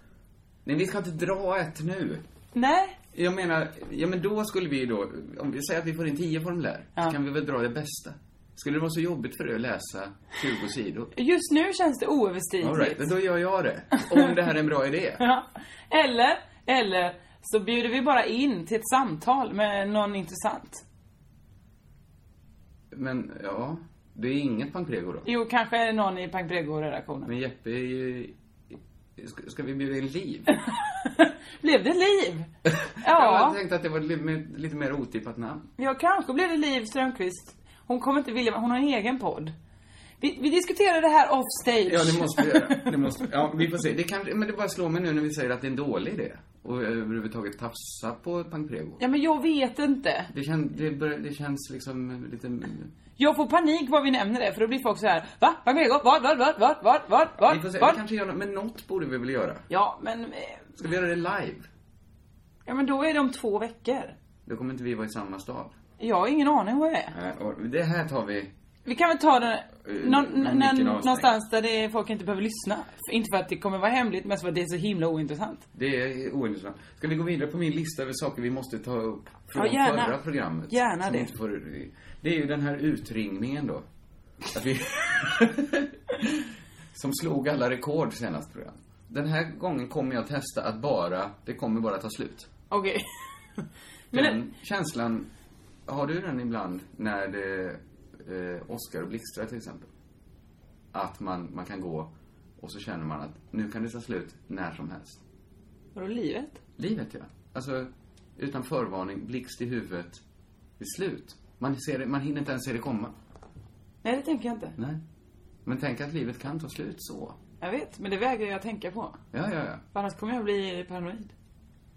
[SPEAKER 6] Nej, vi ska inte dra ett nu.
[SPEAKER 7] Nej.
[SPEAKER 6] Jag menar, ja men då skulle vi då, om vi säger att vi får in tio formulär,
[SPEAKER 7] Ja.
[SPEAKER 6] så kan vi väl dra det bästa. Skulle det vara så jobbigt för dig att läsa 20 sidor?
[SPEAKER 7] Just nu känns det oöverstigligt.
[SPEAKER 6] All right, men då gör jag det. Om det här är en bra idé.
[SPEAKER 7] Ja. Eller, eller så bjuder vi bara in till ett samtal med någon intressant.
[SPEAKER 6] Men ja, det är inget pankrego då.
[SPEAKER 7] Jo, kanske är det någon i Pankrego-redaktionen.
[SPEAKER 6] Men Jeppe är ju... Ska, ska vi bjuda in Liv?
[SPEAKER 7] Blev det liv?
[SPEAKER 6] Jag
[SPEAKER 7] Ja,
[SPEAKER 6] tänkte att det var ett li- med- lite mer otippat namn.
[SPEAKER 7] ja kanske blev det liv Strömqvist. Hon kommer inte vilja, hon har en egen podd. Vi, vi diskuterar det här offstage.
[SPEAKER 6] Ja, det måste vi göra. Det måste, ja, vi får se. Det kan, men det bara slår mig nu när vi säger att det är en dålig idé. Och överhuvudtaget tafsa på pankrego.
[SPEAKER 7] Ja men jag vet inte.
[SPEAKER 6] Det, kän, det, bör, det känns liksom lite...
[SPEAKER 7] Jag får panik vad vi nämner det för då blir folk så här. Va? Pankrego? Vad? Vad? Vad? Vad? Vad? Vad?
[SPEAKER 6] Vi får
[SPEAKER 7] Vad?
[SPEAKER 6] se, vi
[SPEAKER 7] Vad?
[SPEAKER 6] kanske gör något, men något borde vi väl göra?
[SPEAKER 7] Ja men, eh,
[SPEAKER 6] Ska vi göra det live?
[SPEAKER 7] ja men då är det om två veckor.
[SPEAKER 6] Då kommer inte vi vara i samma stad.
[SPEAKER 7] Jag har ingen aning vad det är.
[SPEAKER 6] Nej, och det här tar vi...
[SPEAKER 7] Vi kan väl ta den
[SPEAKER 6] Eh,
[SPEAKER 7] någon,
[SPEAKER 6] men vilken
[SPEAKER 7] när-
[SPEAKER 6] avsnitt?
[SPEAKER 7] någonstans där det är, folk inte behöver lyssna. Inte för att det kommer vara hemligt men för att det är så himla ointressant.
[SPEAKER 6] Det är ointressant. Ska vi gå vidare på min lista över saker vi måste ta upp från
[SPEAKER 7] Ja, gärna.
[SPEAKER 6] förra programmet?
[SPEAKER 7] Gärna
[SPEAKER 6] Som
[SPEAKER 7] det.
[SPEAKER 6] inte Får, det är ju den här utringningen då. Att vi som slog alla rekord senast program. Den här gången kommer jag testa att bara, det kommer bara ta slut.
[SPEAKER 7] Okej.
[SPEAKER 6] Den
[SPEAKER 7] Men
[SPEAKER 6] känslan, har du den ibland när det, eh, Oscar och blixtrar till exempel? Att man, man kan gå och så känner man att nu kan det ta slut när som helst.
[SPEAKER 7] Vadå livet?
[SPEAKER 6] Livet ja. Alltså, utan förvarning, blixt i huvudet, det är slut. Man, ser det, man hinner inte ens se det komma.
[SPEAKER 7] Nej det tänker jag inte.
[SPEAKER 6] Nej. Men tänk att livet kan ta slut så.
[SPEAKER 7] Jag vet, men det vägrar jag tänka på.
[SPEAKER 6] Ja, ja, ja.
[SPEAKER 7] För annars kommer jag bli paranoid.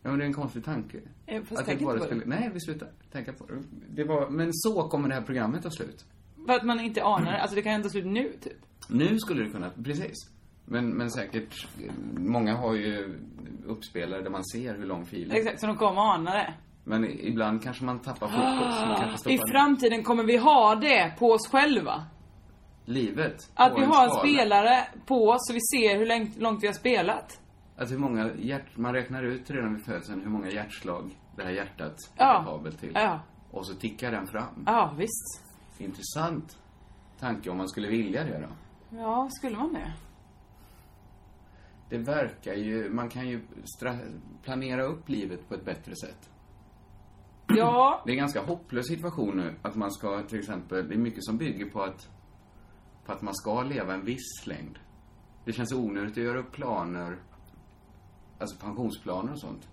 [SPEAKER 6] Ja, men det är en konstig tanke.
[SPEAKER 7] Eh, fast
[SPEAKER 6] att
[SPEAKER 7] tänk
[SPEAKER 6] det bara
[SPEAKER 7] inte på det.
[SPEAKER 6] skulle... Nej, vi slutar tänka på det. det var... Men så kommer det här programmet ta slut.
[SPEAKER 7] För att man inte anar det. Alltså det kan hända slut nu typ.
[SPEAKER 6] Nu skulle det kunna, precis. Men, men säkert, många har ju uppspelare där man ser hur lång filen är.
[SPEAKER 7] Exakt, så de kommer ana det.
[SPEAKER 6] Men ibland kanske man tappar fokus. Man kanske
[SPEAKER 7] I
[SPEAKER 6] stoppar
[SPEAKER 7] framtiden kommer vi ha det på oss själva.
[SPEAKER 6] livet.
[SPEAKER 7] Att
[SPEAKER 6] på
[SPEAKER 7] vi har en
[SPEAKER 6] skala.
[SPEAKER 7] spelare på oss så vi ser hur längt, långt vi har spelat.
[SPEAKER 6] Att Alltså hur många hjärt... Man räknar ut redan vid födseln hur många hjärtslag det här hjärtat är
[SPEAKER 7] Ja.
[SPEAKER 6] kapabelt till.
[SPEAKER 7] Ja.
[SPEAKER 6] Och så tickar den fram.
[SPEAKER 7] Ja, visst.
[SPEAKER 6] Intressant tanke om man skulle vilja det då.
[SPEAKER 7] Ja, skulle man det?
[SPEAKER 6] Det verkar ju, man kan ju stra- planera upp livet på ett bättre sätt.
[SPEAKER 7] Ja.
[SPEAKER 6] Det är en ganska hopplös situation nu att man ska till exempel, det är mycket som bygger på att, på att man ska leva en viss längd. Det känns onödigt att göra upp planer, alltså pensionsplaner och sånt.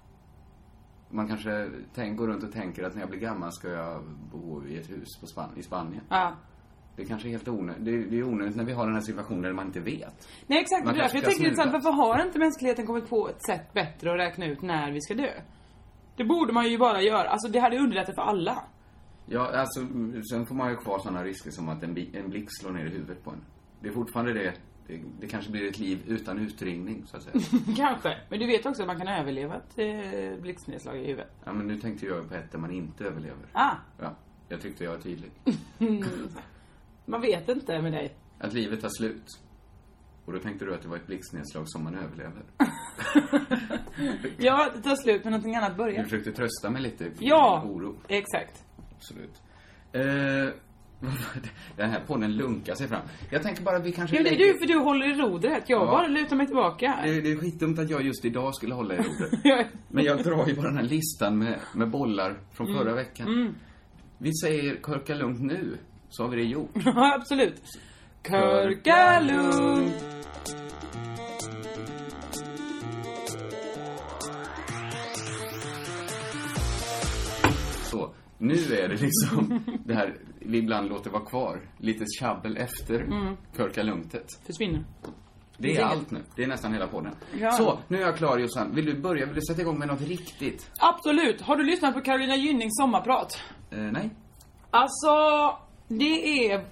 [SPEAKER 6] Man kanske tänk, går runt och tänker att när jag blir gammal ska jag bo i ett hus på Span- i Spanien.
[SPEAKER 7] ja.
[SPEAKER 6] Det kanske är helt onödigt, det är, det är onödigt när vi har den här situationen där man inte vet.
[SPEAKER 7] Nej exakt, det
[SPEAKER 6] Man
[SPEAKER 7] är därför
[SPEAKER 6] kanske
[SPEAKER 7] jag
[SPEAKER 6] ska
[SPEAKER 7] tänker lite såhär,
[SPEAKER 6] snuva.
[SPEAKER 7] varför har inte mänskligheten kommit på ett sätt bättre att räkna ut när vi ska dö? Det borde man ju bara göra, alltså det hade underlättat för alla.
[SPEAKER 6] Ja, alltså, mm, sen får man ju kvar sådana risker som att en, bi- en blixt slår ner i huvudet på en. Det är fortfarande det, det, det kanske blir ett liv utan utringning, så att säga.
[SPEAKER 7] Kanske, men du vet också att man kan överleva ett eh, blixtnedslag i huvudet.
[SPEAKER 6] Ja, men nu tänkte jag på ett där man inte överlever.
[SPEAKER 7] Ah,
[SPEAKER 6] Ja, jag tyckte jag var tydlig.
[SPEAKER 7] man vet inte med dig.
[SPEAKER 6] Att livet tar slut. Och då tänkte du att det var ett blixtnedslag som man överlever.
[SPEAKER 7] Ja, det tar slut men någonting annat
[SPEAKER 6] Du
[SPEAKER 7] börjar.
[SPEAKER 6] försökte trösta mig lite i
[SPEAKER 7] Ja,
[SPEAKER 6] min oro.
[SPEAKER 7] exakt.
[SPEAKER 6] Absolut. Eh, den här podden lunkar sig fram. Jag tänker bara att vi kanske...
[SPEAKER 7] Jo, det är
[SPEAKER 6] lägger-
[SPEAKER 7] du för du håller i rodret. Jag
[SPEAKER 6] Ja.
[SPEAKER 7] bara lutar mig tillbaka.
[SPEAKER 6] Det är, det är skitdumt att jag just idag skulle hålla i rodret.
[SPEAKER 7] Jag-
[SPEAKER 6] Men jag drar ju bara den här listan med, med bollar från
[SPEAKER 7] Mm.
[SPEAKER 6] förra veckan. Vi säger körka lugnt nu, så har vi det gjort.
[SPEAKER 7] Ja, absolut. Körka lugnt.
[SPEAKER 6] Nu är det liksom det här, vi ibland låter vara kvar. Lite tjabbel efter Körka lugnt.
[SPEAKER 7] Försvinner.
[SPEAKER 6] Det är allt nu. Det är nästan hela podden.
[SPEAKER 7] Ja.
[SPEAKER 6] Så, nu är jag klar Jossan. Vill du börja? Vill du sätta igång med något riktigt?
[SPEAKER 7] Absolut. Har du lyssnat på Carolina Gynnings sommarprat?
[SPEAKER 6] Eh, nej?
[SPEAKER 7] Alltså, det är...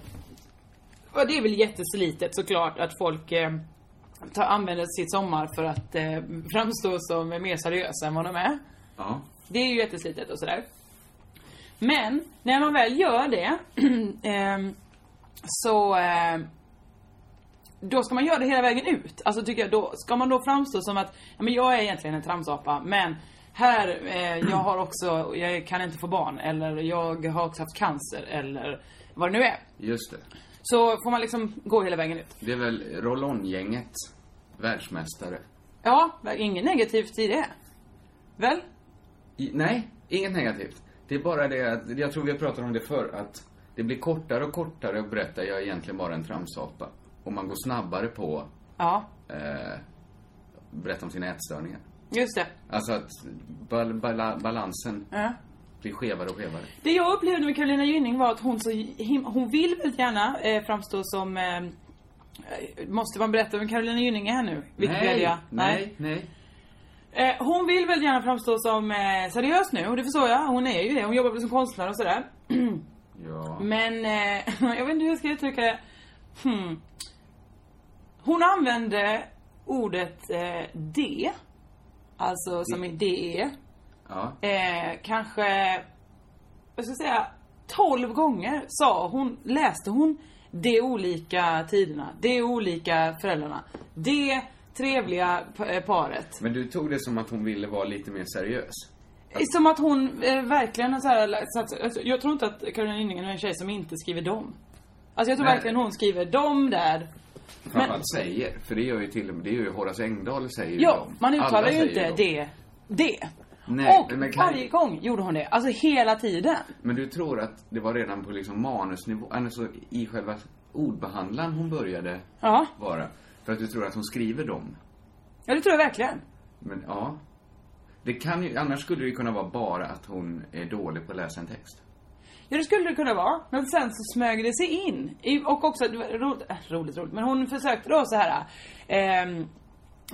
[SPEAKER 7] ja, Det är väl jätteslitet såklart att folk eh, tar, använder sitt sommar för att eh, framstå som mer seriösa än vad de är.
[SPEAKER 6] Ja.
[SPEAKER 7] Det är ju jätteslitet och sådär. Men när man väl gör det ehm, så eh, då ska man göra det hela vägen ut. Alltså tycker jag, då ska man då framstå som att ja, men jag är egentligen en tramsapa men här, eh, jag har också, jag kan inte få barn eller jag har också haft cancer eller vad det nu är.
[SPEAKER 6] Just det.
[SPEAKER 7] Så får man liksom gå hela vägen ut.
[SPEAKER 6] Det är väl Rollon-gänget. Världsmästare.
[SPEAKER 7] Ja, inget negativt i det. Väl?
[SPEAKER 6] I, nej, inget negativt. Det är bara det att, jag tror vi har pratat om det förr, att det blir kortare och kortare att berätta jag är egentligen bara en tramsapa. Och man går snabbare på
[SPEAKER 7] Ja,
[SPEAKER 6] eh, berätta om sina ätstörningar.
[SPEAKER 7] just det.
[SPEAKER 6] Alltså att bal, bala, balansen
[SPEAKER 7] Ja.
[SPEAKER 6] blir skevare och skevare.
[SPEAKER 7] Det jag upplevde med Carolina Gynning var att hon så him- hon vill väldigt gärna eh, framstå som eh, Måste man berätta vem Carolina Gynning är här nu? Wikipedia?
[SPEAKER 6] nej, nej.
[SPEAKER 7] Eh, hon vill väldigt gärna framstå som eh, seriös nu och det förstår jag. Hon är ju det. Hon jobbar väl som konstnär och sådär.
[SPEAKER 6] Ja.
[SPEAKER 7] Men eh, jag vet inte hur jag ska uttrycka det. Hmm. Hon använde ordet eh, D. Alltså som i DE.
[SPEAKER 6] ja.
[SPEAKER 7] eh, kanske, vad ska jag säga, 12 gånger sa hon, läste hon de olika tiderna, de olika föräldrarna, det trevliga p- eh, paret.
[SPEAKER 6] Men du tog det som att hon ville vara lite mer seriös.
[SPEAKER 7] Som att hon eh, verkligen har så här, lagt- så att, alltså, jag tror inte att Carolina Gynningen är en tjej som inte skriver dem. Alltså jag tror
[SPEAKER 6] Nej.
[SPEAKER 7] verkligen hon skriver dem där.
[SPEAKER 6] Framförallt säger, för det gör ju till och med, det gör ju Horace Engdahl säger ju
[SPEAKER 7] Ja,
[SPEAKER 6] dem.
[SPEAKER 7] man uttalar
[SPEAKER 6] Alla
[SPEAKER 7] ju
[SPEAKER 6] säger
[SPEAKER 7] inte
[SPEAKER 6] dem.
[SPEAKER 7] det, det.
[SPEAKER 6] Nej,
[SPEAKER 7] och
[SPEAKER 6] men kan-
[SPEAKER 7] varje gång gjorde hon det. Alltså hela tiden.
[SPEAKER 6] Men du tror att det var redan på liksom manusnivå, alltså i själva ordbehandlaren hon började
[SPEAKER 7] Ja,
[SPEAKER 6] vara? För att du tror att hon skriver dem?
[SPEAKER 7] ja det tror jag verkligen.
[SPEAKER 6] Men ja. Det kan ju, annars skulle det ju kunna vara bara att hon är dålig på att läsa en text.
[SPEAKER 7] Ja det skulle det kunna vara, men sen så smög det sig in. I, och också, det var ro, äh, roligt roligt, men hon försökte då så här. ehm,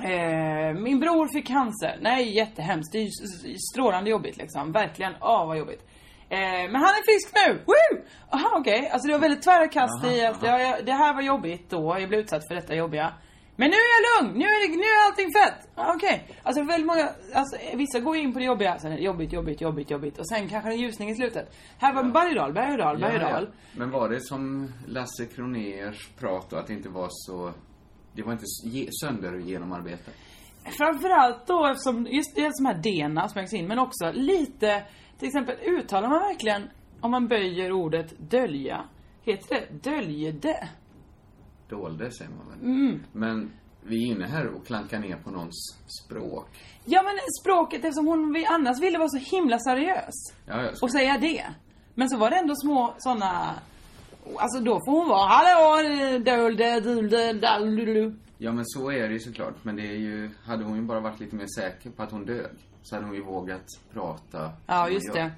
[SPEAKER 7] eh, min bror fick cancer. Nej jättehemskt, det är ju s- s- strålande jobbigt liksom. Verkligen, åh vad jobbigt. Eh, men han är frisk nu! Woo! Aha okej, alltså det var väldigt tvära kast i att jag, jag, det här var jobbigt då, jag blev utsatt för detta jobbiga. Men nu är jag lugn! Nu är, det, nu är allting fett! Ah, Okej. Alltså väldigt många, alltså, vissa går in på det jobbiga, sen är det jobbigt, jobbigt, jobbigt, jobbigt och sen kanske det är ljusning i slutet. Här var en berg och dal, berg och dal, berg och dal.
[SPEAKER 6] Men var det som Lasse Kronérs prat då, att det inte var så, det var inte s- ge- sönder genomarbetat?
[SPEAKER 7] Framförallt då eftersom, just det som här dena smögs in, men också lite, till exempel uttalar man verkligen, om man böjer ordet dölja, heter det döljde?
[SPEAKER 6] Dolde säger man väl?
[SPEAKER 7] Mm.
[SPEAKER 6] Men vi är inne här och klankar ner på någons språk.
[SPEAKER 7] Ja men språket, eftersom hon vi annars ville vara så himla seriös.
[SPEAKER 6] Ja, jag ska-
[SPEAKER 7] och säga det. Men så var det ändå små såna Alltså då får hon vara hallå, dolde, dolde, dalulu.
[SPEAKER 6] Ja men så är det ju såklart. Men det är ju, hade hon ju bara varit lite mer säker på att hon dög så hade hon ju vågat prata. som
[SPEAKER 7] Ja
[SPEAKER 6] hon
[SPEAKER 7] just
[SPEAKER 6] gör.
[SPEAKER 7] det.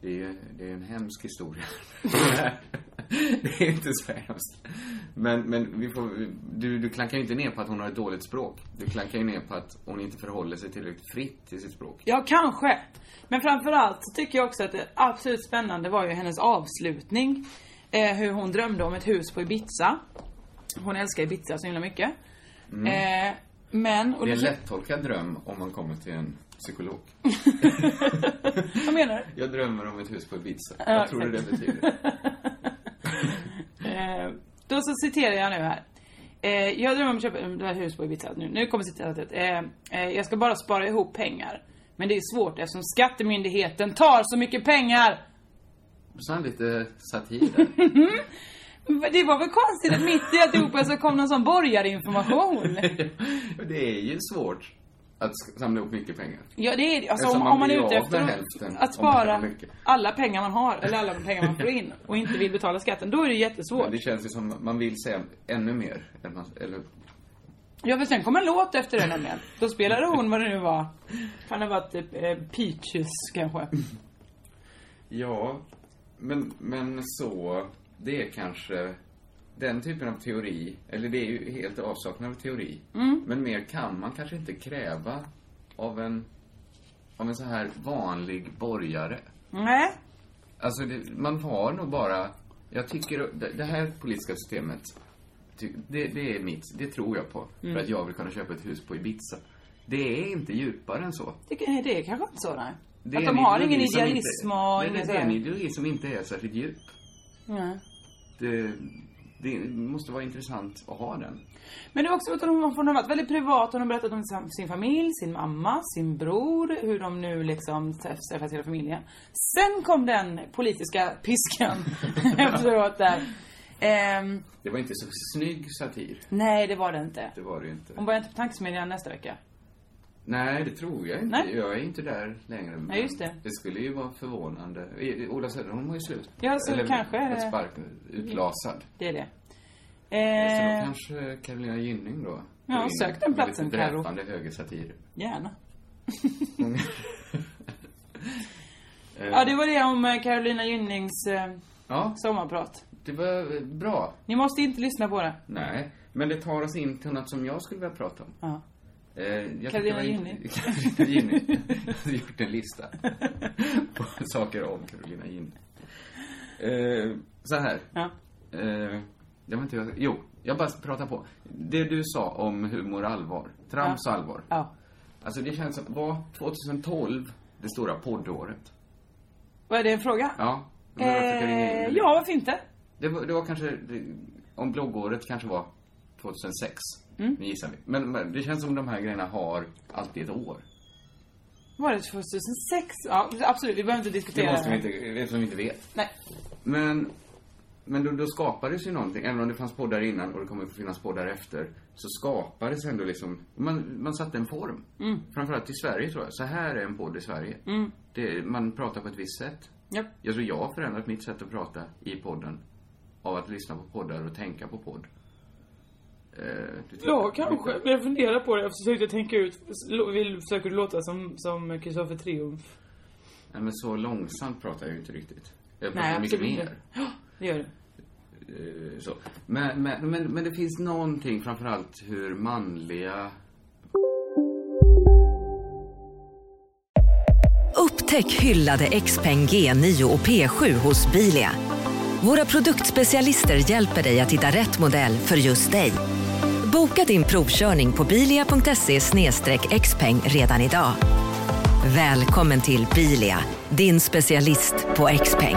[SPEAKER 6] Det är ju det är ju en hemsk historia. det är inte så hemskt. Men, men vi får, du, du klankar ju inte ner på att hon har ett dåligt språk. Du klankar ju ner på att hon inte förhåller sig tillräckligt fritt till sitt språk.
[SPEAKER 7] Ja kanske. Men framförallt så tycker jag också att det absolut spännande var ju hennes avslutning. Eh, hur hon drömde om ett hus på Ibiza. Hon älskar Ibiza så himla mycket. Eh, men,
[SPEAKER 6] Mm. Det
[SPEAKER 7] och
[SPEAKER 6] är
[SPEAKER 7] det,
[SPEAKER 6] en lättolkad dröm om man kommer till en psykolog.
[SPEAKER 7] vad menar du?
[SPEAKER 6] Jag drömmer om ett hus på Ibiza. Jag tror det det betyder.
[SPEAKER 7] Eh, då så citerar jag nu här. Eh, jag drömmer om att köpa det här hus på Ibiza. Nu, nu kommer citatet. Eh, eh, jag ska bara spara ihop pengar. Men det är svårt eftersom skattemyndigheten tar så mycket pengar.
[SPEAKER 6] Så han lite satir där.
[SPEAKER 7] Men Det var väl konstigt att mitt i alltihopa så kom någon sån borgarinformation.
[SPEAKER 6] Och det är ju svårt att sk- samla ihop mycket pengar.
[SPEAKER 7] Ja det är alltså,
[SPEAKER 6] Eftersom
[SPEAKER 7] om,
[SPEAKER 6] man
[SPEAKER 7] om man
[SPEAKER 6] blir
[SPEAKER 7] är
[SPEAKER 6] av
[SPEAKER 7] ute
[SPEAKER 6] med
[SPEAKER 7] efter
[SPEAKER 6] hälften,
[SPEAKER 7] att, att
[SPEAKER 6] om man har
[SPEAKER 7] spara
[SPEAKER 6] mycket.
[SPEAKER 7] alla pengar man har, eller alla pengar man får in, och inte vill betala skatten, då är det jättesvårt.
[SPEAKER 6] Men det känns ju som man vill säga ännu mer. Än man, eller,
[SPEAKER 7] Ja för sen kom en låt efter det nämligen. Då spelade hon vad det nu var. Kan det ha varit eh, Peaches typ, kanske.
[SPEAKER 6] Ja, men, men så, det är kanske den typen av teori, eller det är ju helt avsaknad av teori.
[SPEAKER 7] Mm.
[SPEAKER 6] Men mer kan man kanske inte kräva av en, av en så här vanlig borgare.
[SPEAKER 7] Nej.
[SPEAKER 6] Alltså, det, man har nog bara... Jag tycker... Det, det här politiska systemet, ty, det, det är mitt. Det tror jag på.
[SPEAKER 7] Mm.
[SPEAKER 6] För att jag vill kunna köpa ett hus på Ibiza. Det är inte djupare än så.
[SPEAKER 7] Det, kan- det är kanske inte så, nej.
[SPEAKER 6] Det
[SPEAKER 7] att
[SPEAKER 6] är
[SPEAKER 7] de
[SPEAKER 6] en
[SPEAKER 7] har
[SPEAKER 6] ideologi
[SPEAKER 7] ingen
[SPEAKER 6] som
[SPEAKER 7] idealism
[SPEAKER 6] inte, nej, Det
[SPEAKER 7] och inget
[SPEAKER 6] är en
[SPEAKER 7] sådär.
[SPEAKER 6] ideologi som inte är särskilt djup.
[SPEAKER 7] Nej.
[SPEAKER 6] Det, eh, det måste vara intressant att ha den.
[SPEAKER 7] Men det är också att hon hon har varit väldigt privat. Hon har berättat om sam- sin familj, sin mamma, sin bror. Hur de nu liksom träffs- träffas hela familjen. Sen kom den politiska piskan efteråt där. Ehm,
[SPEAKER 6] Det var inte så snygg satir.
[SPEAKER 7] nej, det var det inte.
[SPEAKER 6] Det var det ju inte.
[SPEAKER 7] Hon börjar inte på tankesmedjan nästa vecka.
[SPEAKER 6] Nej, det tror jag inte.
[SPEAKER 7] Nej.
[SPEAKER 6] Jag är inte där längre. men
[SPEAKER 7] just det.
[SPEAKER 6] Det skulle ju vara förvånande. I- Ola Söderholm var ju slut.
[SPEAKER 7] Ja, så kanske eh, är det-
[SPEAKER 6] Ett spark utlasad.
[SPEAKER 7] Det är det.
[SPEAKER 6] Så då
[SPEAKER 7] Ehm,
[SPEAKER 6] kanske Carolina Gynning då.
[SPEAKER 7] Ja,
[SPEAKER 6] går in
[SPEAKER 7] sök den
[SPEAKER 6] med
[SPEAKER 7] platsen,
[SPEAKER 6] lite
[SPEAKER 7] Karo.
[SPEAKER 6] dräpande högersatir.
[SPEAKER 7] gärna.
[SPEAKER 6] Mm.
[SPEAKER 7] Ja, det var det om eh, Carolina Gynnings eh,
[SPEAKER 6] Ja,
[SPEAKER 7] sommarprat.
[SPEAKER 6] det var eh, bra.
[SPEAKER 7] Ni måste inte lyssna på det.
[SPEAKER 6] Nej, men det tar oss in till något som jag skulle vilja prata om.
[SPEAKER 7] Ja.
[SPEAKER 6] Eh, jag tycker
[SPEAKER 7] Carolina
[SPEAKER 6] det var in-
[SPEAKER 7] Gynning.
[SPEAKER 6] Carolina Gynning. Jag har gjort en lista på saker om Carolina Gynning. Eh, så här.
[SPEAKER 7] Ja.
[SPEAKER 6] Eh, det var inte jag. Jo, jag bara pratar på. Det du sa om humor och allvar. Trams och allvar.
[SPEAKER 7] ja.
[SPEAKER 6] Alltså det känns som, var 2012 det stora poddåret?
[SPEAKER 7] Vad är det en fråga?
[SPEAKER 6] Ja. men jag försöker ringa in
[SPEAKER 7] Eh,
[SPEAKER 6] det.
[SPEAKER 7] ja, varför inte?
[SPEAKER 6] Det var, det var kanske, det, om bloggåret kanske var 2006.
[SPEAKER 7] Mm.
[SPEAKER 6] Nu gissar vi. Men, men det känns som de här grejerna har alltid ett år.
[SPEAKER 7] Var det 2006? Ja, absolut. Vi behöver inte
[SPEAKER 6] Det
[SPEAKER 7] diskutera
[SPEAKER 6] måste vi
[SPEAKER 7] här.
[SPEAKER 6] inte, eftersom vi inte vet.
[SPEAKER 7] Nej.
[SPEAKER 6] Men, men då, då skapades ju någonting. Även om det fanns poddar innan och det kommer att finnas poddar efter. Så skapades ändå liksom, man, man satte en form.
[SPEAKER 7] Mm.
[SPEAKER 6] Framförallt i Sverige tror jag. Så här är en podd i Sverige. Det, man pratar på ett visst sätt.
[SPEAKER 7] Japp.
[SPEAKER 6] Jag tror jag har förändrat mitt sätt att prata i podden. Av att lyssna på poddar och tänka på podd. Eh, du tittar-
[SPEAKER 7] Ja, kanske. Men jag funderar på det. Jag försökte tänka ut. Vill, försöker du låta som, som Kristoffer Triumf?
[SPEAKER 6] Nej men så långsamt pratar jag ju inte riktigt. Jag pratar
[SPEAKER 7] Nej,
[SPEAKER 6] mycket
[SPEAKER 7] absolut
[SPEAKER 6] mer.
[SPEAKER 7] inte. Ja, det gör du.
[SPEAKER 6] Eh, så. Men, men, men, men det finns någonting framförallt hur manliga...
[SPEAKER 8] Upptäck hyllade XPeng G9 och P7 hos Bilia. Våra produktspecialister hjälper dig att hitta rätt modell för just dig. Boka din provkörning på bilia.se xpeng redan idag. Välkommen till Bilia, din specialist på XPeng.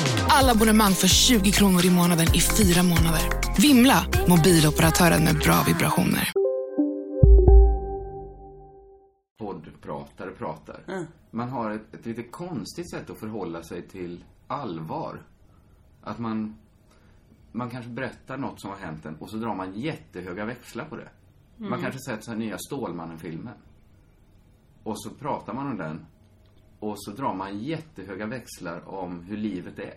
[SPEAKER 9] Alla abonnemang för 20 kronor i månaden i fyra månader. Vimla! Mobiloperatören med bra vibrationer.
[SPEAKER 6] poddpratare pratar. Man har ett, ett lite konstigt sätt att förhålla sig till allvar. Att man, man kanske berättar något som har hänt en och så drar man jättehöga växlar på det. Man kanske sett så här nya Stålmannen-filmen. Och så pratar man om den och så drar man jättehöga växlar om hur livet är.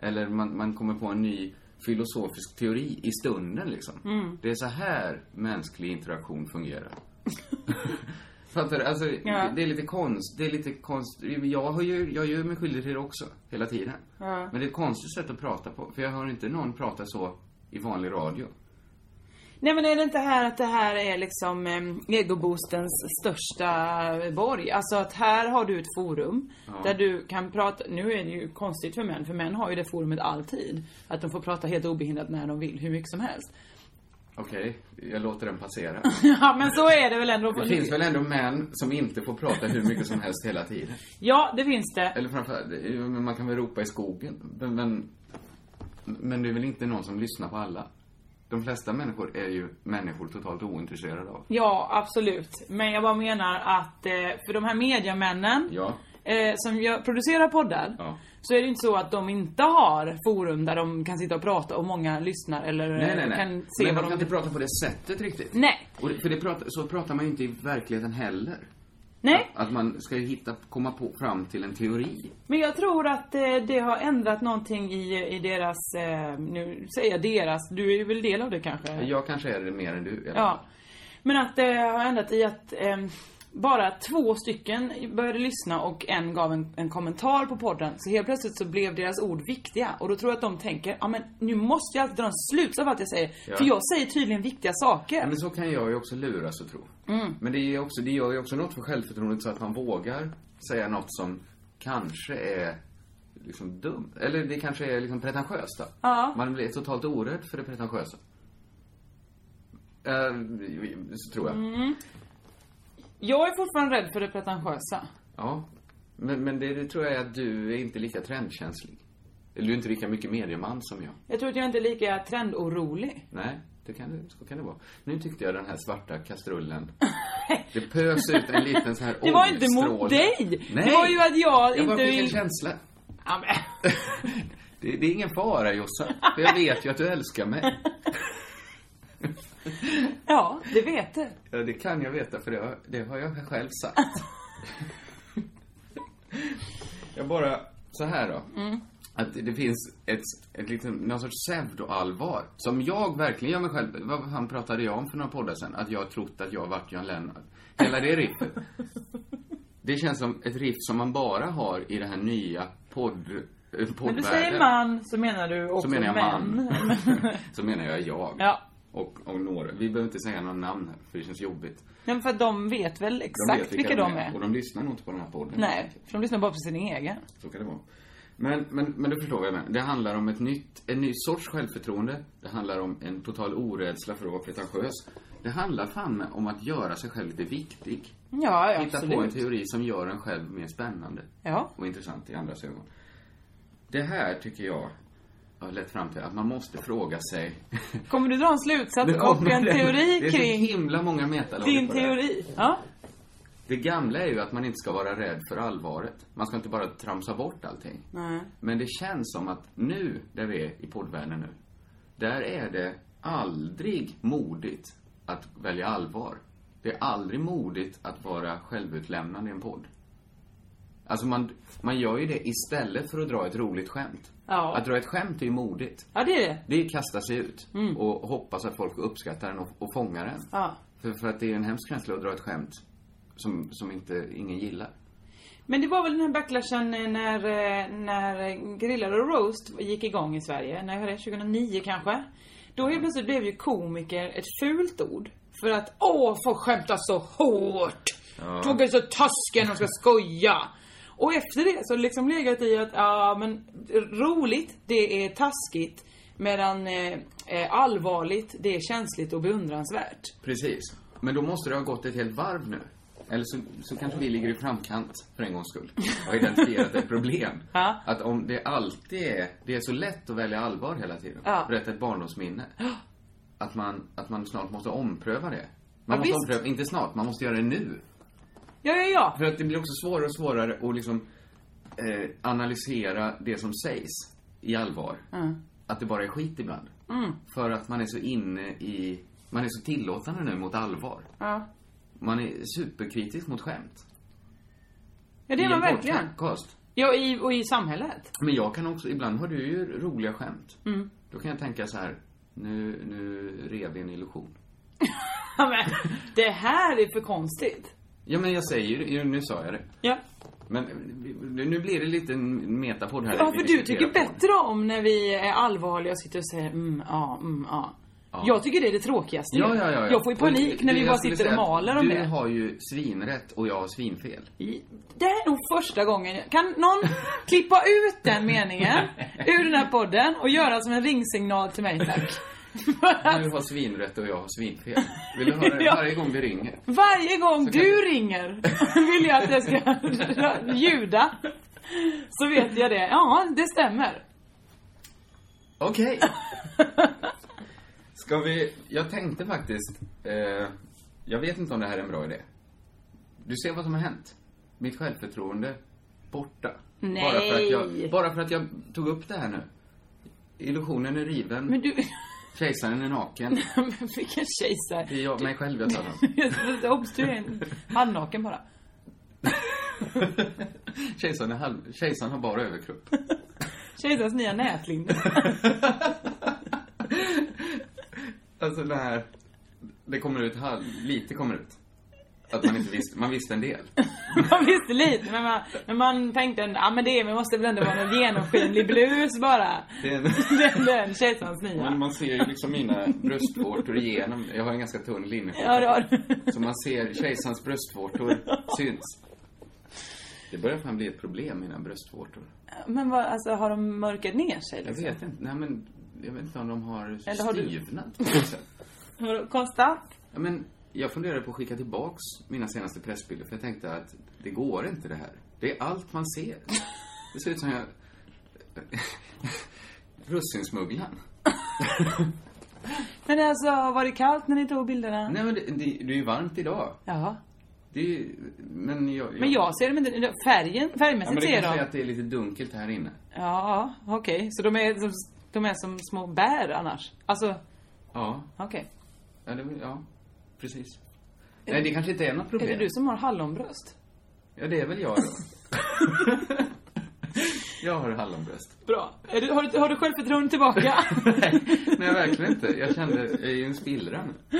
[SPEAKER 6] Eller man, man kommer på en ny filosofisk teori i stunden liksom. Det är så här mänsklig interaktion fungerar. Fattar du? Alltså, det, det är lite konst, det är lite konst. Jag har ju, jag gör mig skyldig till det också, hela tiden. Men det är ett konstigt sätt att prata på, för jag hör inte någon prata så i vanlig radio.
[SPEAKER 7] Nej men är det inte här att det här är liksom eh, egoboostens största borg? Alltså att här har du ett forum där du kan prata, nu är det ju konstigt för män, för män har ju det forumet alltid. Att de får prata helt obehindrat när de vill, hur mycket som helst.
[SPEAKER 6] Okej, jag låter den passera.
[SPEAKER 7] Ja men så är det väl ändå.
[SPEAKER 6] Det finns väl ändå män som inte får prata hur mycket som helst hela tiden?
[SPEAKER 7] Ja, det finns det.
[SPEAKER 6] Eller framförallt, eh, man kan väl ropa i skogen. Men, men, men det är väl inte någon som lyssnar på alla? De flesta människor är ju människor totalt ointresserade av.
[SPEAKER 7] Ja, absolut. Men jag bara menar att, eh, för de här mediamännen
[SPEAKER 6] Ja.
[SPEAKER 7] eh, som gör, producerar poddar så är det inte så att de inte har forum där de kan sitta och prata och många lyssnar eller
[SPEAKER 6] Nej, nej,
[SPEAKER 7] eh,
[SPEAKER 6] nej.
[SPEAKER 7] kan se
[SPEAKER 6] Men de
[SPEAKER 7] vad
[SPEAKER 6] kan inte prata på det sättet riktigt.
[SPEAKER 7] Nej.
[SPEAKER 6] Och det, för det pratar, så pratar man ju inte i verkligheten heller.
[SPEAKER 7] Nej.
[SPEAKER 6] Att man ska ju hitta, komma på, fram till en teori.
[SPEAKER 7] Men jag tror att eh, det har ändrat någonting i, i deras, eh, nu säger jag deras, du är väl del av det kanske?
[SPEAKER 6] Jag kanske är det mer än du. eller?
[SPEAKER 7] Ja. Men att det har ändrat i att ehm, bara två stycken började lyssna och en gav en, en kommentar på podden. Så helt plötsligt så blev deras ord viktiga. Och då tror jag att de tänker, ja men nu måste jag alltid dra en slutsats av allt jag säger.
[SPEAKER 6] Ja.
[SPEAKER 7] För jag säger tydligen viktiga saker.
[SPEAKER 6] Men så kan jag ju också luras att tro.
[SPEAKER 7] Mm.
[SPEAKER 6] Men det, är ju också, det gör ju också något för självförtroendet så att man vågar säga något som kanske är liksom dumt. Eller det kanske är liksom pretentiöst då.
[SPEAKER 7] Ja.
[SPEAKER 6] Man blir totalt orädd för det pretentiösa. Eh, så tror jag.
[SPEAKER 7] Mm. Jag är fortfarande rädd för det pretentiösa.
[SPEAKER 6] Ja. Men, men det, det tror jag är att du är inte lika trendkänslig. Eller du är inte lika mycket medieman som jag.
[SPEAKER 7] Jag tror att jag inte är lika trendorolig.
[SPEAKER 6] Nej, det kan, det- så kan det vara. Nu tyckte jag den här svarta kastrullen. Det pös ut en liten sån här
[SPEAKER 7] Det var inte mot
[SPEAKER 6] oljestråle.
[SPEAKER 7] dig!
[SPEAKER 6] Nej.
[SPEAKER 7] Det var ju att jag
[SPEAKER 6] Jag
[SPEAKER 7] inte
[SPEAKER 6] bara fick en
[SPEAKER 7] vill...
[SPEAKER 6] känsla.
[SPEAKER 7] Ja, men.
[SPEAKER 6] Det, det är ingen fara Jossan, för jag vet ju att du älskar mig.
[SPEAKER 7] ja, det vet du.
[SPEAKER 6] Ja, Eh, det kan jag veta för det har, det har jag själv sagt. Jag bara, så här då.
[SPEAKER 7] Mm.
[SPEAKER 6] Att det finns ett, ett liksom, någon sorts pseudoallvar som jag verkligen gör mig själv. Vad han pratade jag om för några poddar sen? Att jag har trott att jag varit John Lennart. Hela det riffet. Det känns som ett riff som man bara har i det här nya podd, eh,
[SPEAKER 7] När du
[SPEAKER 6] poddvärlden.
[SPEAKER 7] säger man så menar du också
[SPEAKER 6] Så menar jag
[SPEAKER 7] män.
[SPEAKER 6] man. Så menar jag jag.
[SPEAKER 7] Ja.
[SPEAKER 6] Och, och några. Vi behöver inte säga några namn här, för det känns jobbigt.
[SPEAKER 7] Nej, men för att de vet väl
[SPEAKER 6] De
[SPEAKER 7] exakt
[SPEAKER 6] vet
[SPEAKER 7] vilka, de är.
[SPEAKER 6] Och de lyssnar nog inte på den här podden.
[SPEAKER 7] Nej, för de lyssnar bara på sin egen.
[SPEAKER 6] Så kan det vara. Men, men, men du förstår vad jag menar. Det handlar om ett nytt, en ny sorts självförtroende. Det handlar om en total orädsla för att vara pretentiös. Det handlar fan med om att göra sig själv lite viktig.
[SPEAKER 7] Ja, ja,
[SPEAKER 6] Hitta på en
[SPEAKER 7] absolut.
[SPEAKER 6] teori som gör en själv mer spännande.
[SPEAKER 7] Ja.
[SPEAKER 6] Och intressant i andras ögon. Det här tycker jag har lett fram till att man måste fråga sig.
[SPEAKER 7] Kommer du dra en slutsats
[SPEAKER 6] Nu
[SPEAKER 7] och
[SPEAKER 6] kommer
[SPEAKER 7] en
[SPEAKER 6] det.
[SPEAKER 7] teori
[SPEAKER 6] Det är
[SPEAKER 7] kring
[SPEAKER 6] så himla många metalager
[SPEAKER 7] din
[SPEAKER 6] på det här.
[SPEAKER 7] teori? Ja.
[SPEAKER 6] Det gamla är ju att man inte ska vara rädd för allvaret. Man ska inte bara tramsa bort allting.
[SPEAKER 7] Nej.
[SPEAKER 6] Men det känns som att nu, där vi är i poddvärlden nu, där är det aldrig modigt att välja allvar. Det är aldrig modigt att vara självutlämnande i en podd. Alltså man, man gör ju det istället för att dra ett roligt skämt.
[SPEAKER 7] Ja.
[SPEAKER 6] Att dra ett skämt är ju modigt.
[SPEAKER 7] Ja, det är det.
[SPEAKER 6] Det är att kasta sig ut
[SPEAKER 7] Mm.
[SPEAKER 6] och hoppas att folk uppskattar den och, och fångar den.
[SPEAKER 7] Ja.
[SPEAKER 6] För, för att det är en hemsk känsla att dra ett skämt som, som inte, ingen gillar.
[SPEAKER 7] Men det var väl den här backlashen eh, när, eh, när Grillar och Roast gick igång i Sverige, när var det? 2009 kanske? Då helt plötsligt blev ju komiker ett fult ord. För att åh, folk skämtar så hårt!
[SPEAKER 10] Ja.
[SPEAKER 7] Folk är så taskiga när de ska skoja! Och efter det så har det liksom legat i att, ja men roligt, det är taskigt. Medan eh, eh, allvarligt, det är känsligt och beundransvärt.
[SPEAKER 6] Precis. Men då måste det ha gått ett helt varv nu. Eller så, så kanske vi ligger i framkant för en gångs skull. Och har identifierat ett problem.
[SPEAKER 7] Ja.
[SPEAKER 6] Att om det alltid är, det är så lätt att välja allvar hela tiden.
[SPEAKER 7] Ja.
[SPEAKER 6] Berätta ett barndomsminne. Att man, att man snart måste ompröva det. Man
[SPEAKER 7] Ja,
[SPEAKER 6] måste
[SPEAKER 7] visst.
[SPEAKER 6] ompröva, inte snart, man måste göra det nu.
[SPEAKER 7] Ja, ja, ja.
[SPEAKER 6] För att det blir också svårare och svårare att liksom eh, analysera det som sägs i allvar.
[SPEAKER 7] Mm.
[SPEAKER 6] Att det bara är skit ibland.
[SPEAKER 7] Mm.
[SPEAKER 6] För att man är så inne i, man är så tillåtande nu mot allvar.
[SPEAKER 7] Ja.
[SPEAKER 6] Man är superkritisk mot skämt.
[SPEAKER 7] Ja, det är
[SPEAKER 6] I
[SPEAKER 7] man
[SPEAKER 6] en
[SPEAKER 7] verkligen.
[SPEAKER 6] podcast.
[SPEAKER 7] Ja, i, och i samhället.
[SPEAKER 6] Men jag kan också, ibland har du ju roliga skämt.
[SPEAKER 7] Mm.
[SPEAKER 6] Då kan jag tänka så här, nu, nu rev vi en illusion.
[SPEAKER 7] Ja, men, det här är för konstigt.
[SPEAKER 6] Ja men jag säger ju, nu sa jag det.
[SPEAKER 7] Ja.
[SPEAKER 6] Men nu nu blir det lite en metapodd här.
[SPEAKER 7] Ja,
[SPEAKER 6] Vi
[SPEAKER 7] för du
[SPEAKER 6] diskuterar
[SPEAKER 7] tycker
[SPEAKER 6] på.
[SPEAKER 7] bättre om när vi är allvarliga och sitter och säger mm, ja, mm, ja.
[SPEAKER 6] Ja.
[SPEAKER 7] Jag tycker det är det tråkigaste.
[SPEAKER 6] Ja, ja, ja, ja.
[SPEAKER 7] Jag får ju panik
[SPEAKER 6] Och
[SPEAKER 7] när
[SPEAKER 6] det
[SPEAKER 7] vi
[SPEAKER 6] jag
[SPEAKER 7] bara
[SPEAKER 6] skulle
[SPEAKER 7] sitter och
[SPEAKER 6] säga att
[SPEAKER 7] maler om
[SPEAKER 6] du
[SPEAKER 7] det.
[SPEAKER 6] har ju svinrätt och jag har svinfel.
[SPEAKER 7] Det här är nog första gången. Kan någon klippa ut den meningen ur den här podden och göra som en ringsignal till mig tack?
[SPEAKER 6] Du har svinrätt och jag har svinfel. Vill du höra det
[SPEAKER 7] Ja.
[SPEAKER 6] varje gång vi ringer?
[SPEAKER 7] Varje gång du ringer vill jag att jag ska ljuda. Så vet jag det. Ja, det stämmer.
[SPEAKER 6] Okej. Ska vi... Jag tänkte faktiskt... Eh, jag vet inte om det här är en bra idé. Du ser vad som har hänt. Mitt självförtroende borta.
[SPEAKER 7] Nej.
[SPEAKER 6] Bara för, att jag, bara för att jag tog upp det här nu. Illusionen är riven.
[SPEAKER 7] Men du...
[SPEAKER 6] Kejsaren är naken.
[SPEAKER 7] Men Vilken kejsare.
[SPEAKER 6] Det är jag, mig själv jag talar om.
[SPEAKER 7] Obs, du är en halvnaken bara.
[SPEAKER 6] Kejsaren, är halv, kejsaren har bara överkropp.
[SPEAKER 7] Kejsarens nya nätlinne.
[SPEAKER 6] Alltså det här, det kommer ut halv, lite kommer ut. Att man inte visste, man visste en del.
[SPEAKER 7] Man visste lite, men man, men man tänkte ändå, ja men det är, men måste väl ändå vara en genomskinlig blus bara.
[SPEAKER 6] Det är en...
[SPEAKER 7] Den, den kejsarens nya.
[SPEAKER 6] Men man ser ju liksom mina bröstvårtor igenom. Jag har en ganska tunn linneskjorta.
[SPEAKER 7] Ja, det har
[SPEAKER 6] Så man ser kejsarens bröstvårtor syns. Det börjar fan bli ett problem, mina bröstvårtor.
[SPEAKER 7] Men vad, alltså har de mörkat ner sig
[SPEAKER 6] Jag
[SPEAKER 7] liksom?
[SPEAKER 6] vet inte. Nej, men jag vet inte om de har
[SPEAKER 7] Eller har du-
[SPEAKER 6] stivnat. på något sätt.
[SPEAKER 7] Vadå, Konstant?
[SPEAKER 6] Ja, men jag funderade på att skicka tillbaks mina senaste pressbilder för jag tänkte att det går inte det här. Det är allt man ser. Det ser ut som jag... Russinsmugglaren.
[SPEAKER 7] Men alltså, var det kallt när ni tog bilderna?
[SPEAKER 6] Nej men det, det, det är ju varmt idag.
[SPEAKER 7] Ja.
[SPEAKER 6] Det är ju, men jag...
[SPEAKER 7] Men jag ser dem inte, färgen,
[SPEAKER 6] ja, men
[SPEAKER 7] färgmässigt
[SPEAKER 6] det
[SPEAKER 7] ser
[SPEAKER 6] kanske är
[SPEAKER 7] de.
[SPEAKER 6] att det är lite dunkelt här inne.
[SPEAKER 7] Ja, okej. Så de är, som, de är som små bär annars? Alltså,
[SPEAKER 6] Ja,
[SPEAKER 7] okej.
[SPEAKER 6] ja, det, ja precis. Nej, det kanske inte är något problem.
[SPEAKER 7] Är det du som har hallonbröst?
[SPEAKER 6] Ja, det är väl jag då. jag har hallonbröst.
[SPEAKER 7] Bra. Är du, har, du, har du självförtroende tillbaka?
[SPEAKER 6] Nej, verkligen inte. Jag kände, jag är ju en spillra nu.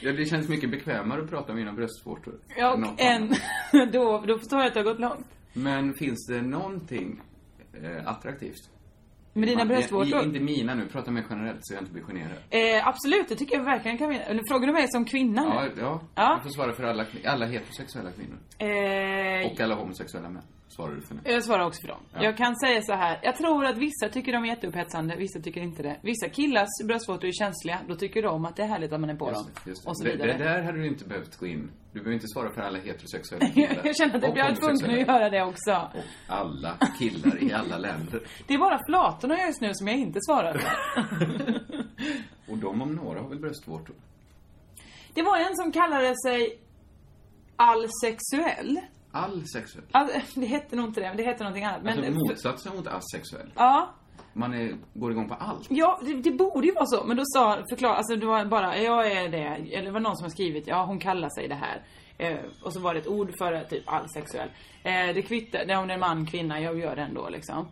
[SPEAKER 6] Ja, det känns mycket bekvämare att prata om mina bröstvårtor.
[SPEAKER 7] ja,
[SPEAKER 6] än något
[SPEAKER 7] och en,
[SPEAKER 6] annat.
[SPEAKER 7] då, då förstår jag att det har gått långt.
[SPEAKER 6] Men finns det någonting eh, attraktivt?
[SPEAKER 7] Med dina
[SPEAKER 6] Man-
[SPEAKER 7] bröstvårtor?
[SPEAKER 6] i- Inte mina nu, prata mer generellt så jag inte blir generad.
[SPEAKER 7] Eh, absolut, det tycker jag verkligen kan vi... Eller frågar du mig som kvinna nu?
[SPEAKER 6] Ja, ja.
[SPEAKER 7] Ja.
[SPEAKER 6] Jag får svara för alla, kvin- alla heterosexuella kvinnor.
[SPEAKER 7] Eh,
[SPEAKER 6] Och alla homosexuella män. Svarar du för nu.
[SPEAKER 7] Jag svarar också för dem.
[SPEAKER 6] Ja.
[SPEAKER 7] Jag kan säga så här. Jag tror att vissa tycker de är jätteupphetsande, vissa tycker inte det. Vissa killars bröstvårtor är känsliga, då tycker de att det är härligt att man är på dem.
[SPEAKER 6] Just det.
[SPEAKER 7] Och så
[SPEAKER 6] det,
[SPEAKER 7] vidare.
[SPEAKER 6] det där hade du inte behövt gå in. Du behöver inte svara för alla heterosexuella killar.
[SPEAKER 7] jag känner att jag
[SPEAKER 6] Och
[SPEAKER 7] blir tvungen att
[SPEAKER 6] homosexuella.
[SPEAKER 7] göra det också.
[SPEAKER 6] Alla killar i alla länder.
[SPEAKER 7] Det är bara flatorna just nu som jag inte svarar för.
[SPEAKER 6] Och de om några har väl bröstvårtor?
[SPEAKER 7] Det var en som kallade sig allsexuell.
[SPEAKER 6] All sexuell.
[SPEAKER 7] All, det hette nog inte det, men det hette någonting annat. Men,
[SPEAKER 6] alltså motsatsen mot asexuell.
[SPEAKER 7] ja,
[SPEAKER 6] Man är, går igång på allt.
[SPEAKER 7] Ja, det, det borde ju vara så. Men då sa, förklara, alltså det var bara, jag är det. Eller det var någon som har skrivit, ja hon kallar sig det här. Eh, och så var det ett ord för typ allsexuell. Eh, det kvittar, nej, om det är man, kvinna, jag gör det ändå liksom.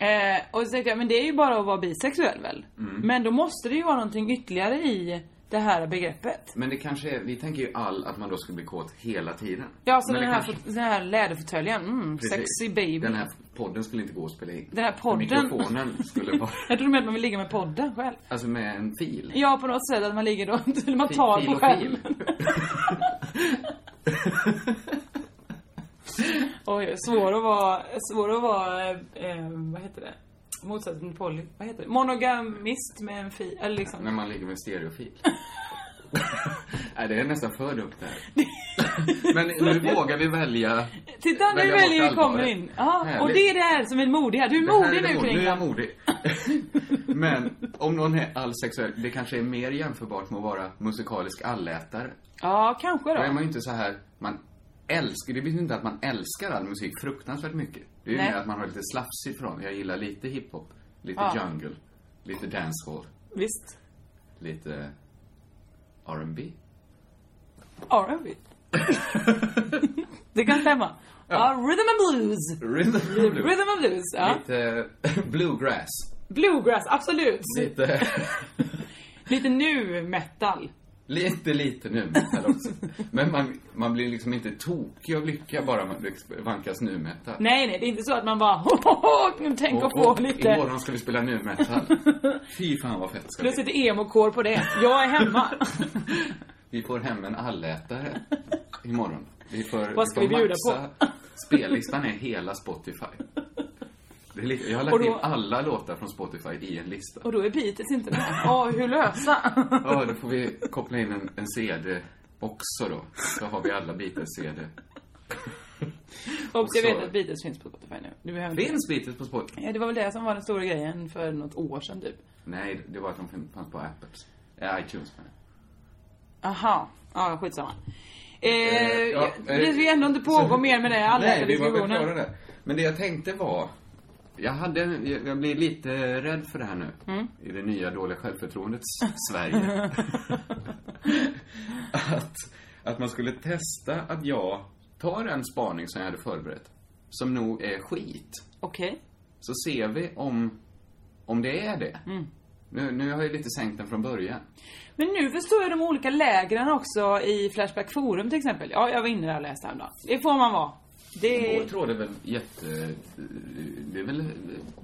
[SPEAKER 7] Eh, och så tänkte jag, men det är ju bara att vara bisexuell väl?
[SPEAKER 6] Mm.
[SPEAKER 7] Men då måste det ju vara någonting ytterligare i det här begreppet.
[SPEAKER 6] Men det kanske är, vi tänker ju all att man då ska bli kåt hela tiden.
[SPEAKER 7] Ja, så
[SPEAKER 6] Men
[SPEAKER 7] den
[SPEAKER 6] det
[SPEAKER 7] här,
[SPEAKER 6] kanske-
[SPEAKER 7] fot- den här läderfåtöljen, mm,
[SPEAKER 6] Precis.
[SPEAKER 7] sexy baby.
[SPEAKER 6] Den här podden skulle inte gå att spela in.
[SPEAKER 7] Den här podden.
[SPEAKER 6] Mikrofonen skulle vara,
[SPEAKER 7] Jag tror med att man vill ligga med podden själv.
[SPEAKER 6] alltså med en fil.
[SPEAKER 7] Ja, på något sätt att man ligger då, eller man
[SPEAKER 6] Fil-
[SPEAKER 7] tar
[SPEAKER 6] fil
[SPEAKER 7] på
[SPEAKER 6] och
[SPEAKER 7] skärmen. Oj, svår att vara, svår att vara, eh, eh, vad heter det? Motsatsen till poly, vad heter det? Monogamist med en fi, eller liksom.
[SPEAKER 6] När man ligger med en stereofil. Nej, det är nästan för dumt det här. Men nu vågar vi välja.
[SPEAKER 7] Titta, nu
[SPEAKER 6] välja bort
[SPEAKER 7] väljer vi kommer
[SPEAKER 6] allvaret.
[SPEAKER 7] in. Ja, och
[SPEAKER 6] Härligt.
[SPEAKER 7] det är det här som är modig här. Du är
[SPEAKER 6] Det här
[SPEAKER 7] modig
[SPEAKER 6] det
[SPEAKER 7] nu
[SPEAKER 6] mod- Nu är jag
[SPEAKER 7] Kringlan.
[SPEAKER 6] modig. Men om någon är allsexuell, det kanske är mer jämförbart med att vara musikalisk allätare.
[SPEAKER 7] Ja, kanske
[SPEAKER 6] Då är
[SPEAKER 7] då.
[SPEAKER 6] man ju inte så här, man älskar, det betyder inte att man älskar all musik fruktansvärt mycket. Det är ju
[SPEAKER 7] Nej.
[SPEAKER 6] mer att man har lite slafs ifrån. Jag gillar lite hiphop, lite
[SPEAKER 7] Ja.
[SPEAKER 6] jungle, lite dancehall,
[SPEAKER 7] Visst.
[SPEAKER 6] lite R&B.
[SPEAKER 7] R&B. det kan stämma. Ja, rhythm and blues.
[SPEAKER 6] Rhythm and blues.
[SPEAKER 7] Rhythm and blues, ja.
[SPEAKER 6] Lite eh, bluegrass.
[SPEAKER 7] Bluegrass, absolut.
[SPEAKER 6] Lite,
[SPEAKER 7] Lite nu metal.
[SPEAKER 6] lite, lite nu metal också. Men man, man blir liksom inte tokig av lycka bara man liksom vankas nu metal.
[SPEAKER 7] Nej, nej, det är inte så att man bara tänk att få lite.
[SPEAKER 6] Imorgon ska vi spela nu metal. Fy fan vad fett ska bli.
[SPEAKER 7] Plötsligt emo-kår på det. Jag är hemma.
[SPEAKER 6] Vi får hem en allätare imorgon. Vi får,
[SPEAKER 7] Vad ska
[SPEAKER 6] får
[SPEAKER 7] vi bjuda
[SPEAKER 6] maxa- Spellistan är hela Spotify. Det är lite, jag har lagt
[SPEAKER 7] Och då-
[SPEAKER 6] in alla låtar från Spotify i en lista.
[SPEAKER 7] Och då är Beatles inte med. Ja, hur lösa?
[SPEAKER 6] Ja, då får vi koppla in en, en CD också då. Så har vi alla Beatles-CD.
[SPEAKER 7] Och jag
[SPEAKER 6] så-
[SPEAKER 7] vet att Beatles finns på Spotify nu. Du behöver inte-
[SPEAKER 6] Finns Beatles på Spotify?
[SPEAKER 7] Ja, det var väl det som var den stora grejen för något år sedan typ.
[SPEAKER 6] Nej, det var att de fin- fanns på Apples. Eh, iTunes menar jag.
[SPEAKER 7] Aha. Ja, skitsamma. Eh,
[SPEAKER 6] ja,
[SPEAKER 7] det
[SPEAKER 6] eh,
[SPEAKER 7] vi ändå inte pågå
[SPEAKER 6] så-
[SPEAKER 7] mer med det, alla
[SPEAKER 6] Nej,
[SPEAKER 7] här
[SPEAKER 6] vi var väl
[SPEAKER 7] diskussionen.
[SPEAKER 6] klara där. Men det jag tänkte var... Jag, hade, jag jag blir lite rädd för det här nu.
[SPEAKER 7] Mm.
[SPEAKER 6] I det nya dåliga självförtroendets Sverige. att, att man skulle testa att jag tar en spaning som jag hade förberett. Som nog är skit.
[SPEAKER 7] Okej.
[SPEAKER 6] Så ser vi om, om det är det.
[SPEAKER 7] Mm.
[SPEAKER 6] Nu, nu har jag lite sänkt den från början.
[SPEAKER 7] Men nu förstår jag de olika lägren också i Flashback Forum till exempel. Ja, jag var inne där och läste häromdagen. Det får man vara. Det...
[SPEAKER 6] Vår tråd är väl jätte... Det är väl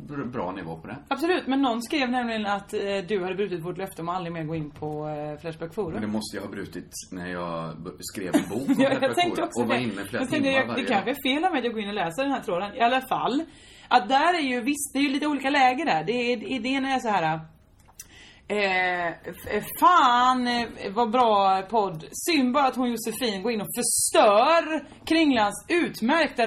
[SPEAKER 6] br- bra nivå på det.
[SPEAKER 7] Absolut, men någon skrev nämligen att eh, du hade brutit vårt löfte om att aldrig mer gå in på eh, Flashback Forum.
[SPEAKER 6] Men det måste jag ha brutit när jag b- skrev en bok om
[SPEAKER 7] Ja, jag
[SPEAKER 6] Pepparkor
[SPEAKER 7] tänkte också
[SPEAKER 6] och var
[SPEAKER 7] det.
[SPEAKER 6] inne flera
[SPEAKER 7] jag tänkte,
[SPEAKER 6] timmar
[SPEAKER 7] jag, Det
[SPEAKER 6] varje
[SPEAKER 7] kanske
[SPEAKER 6] dag.
[SPEAKER 7] är fel av mig att gå in och läsa den här tråden. I alla fall. Att där är ju visst, det är ju lite olika läger där. Det är, det- det ena är så här. Eh, f- fan eh, vad bra podd. Synd bara att hon Josefin går in och förstör Kringlans utmärkta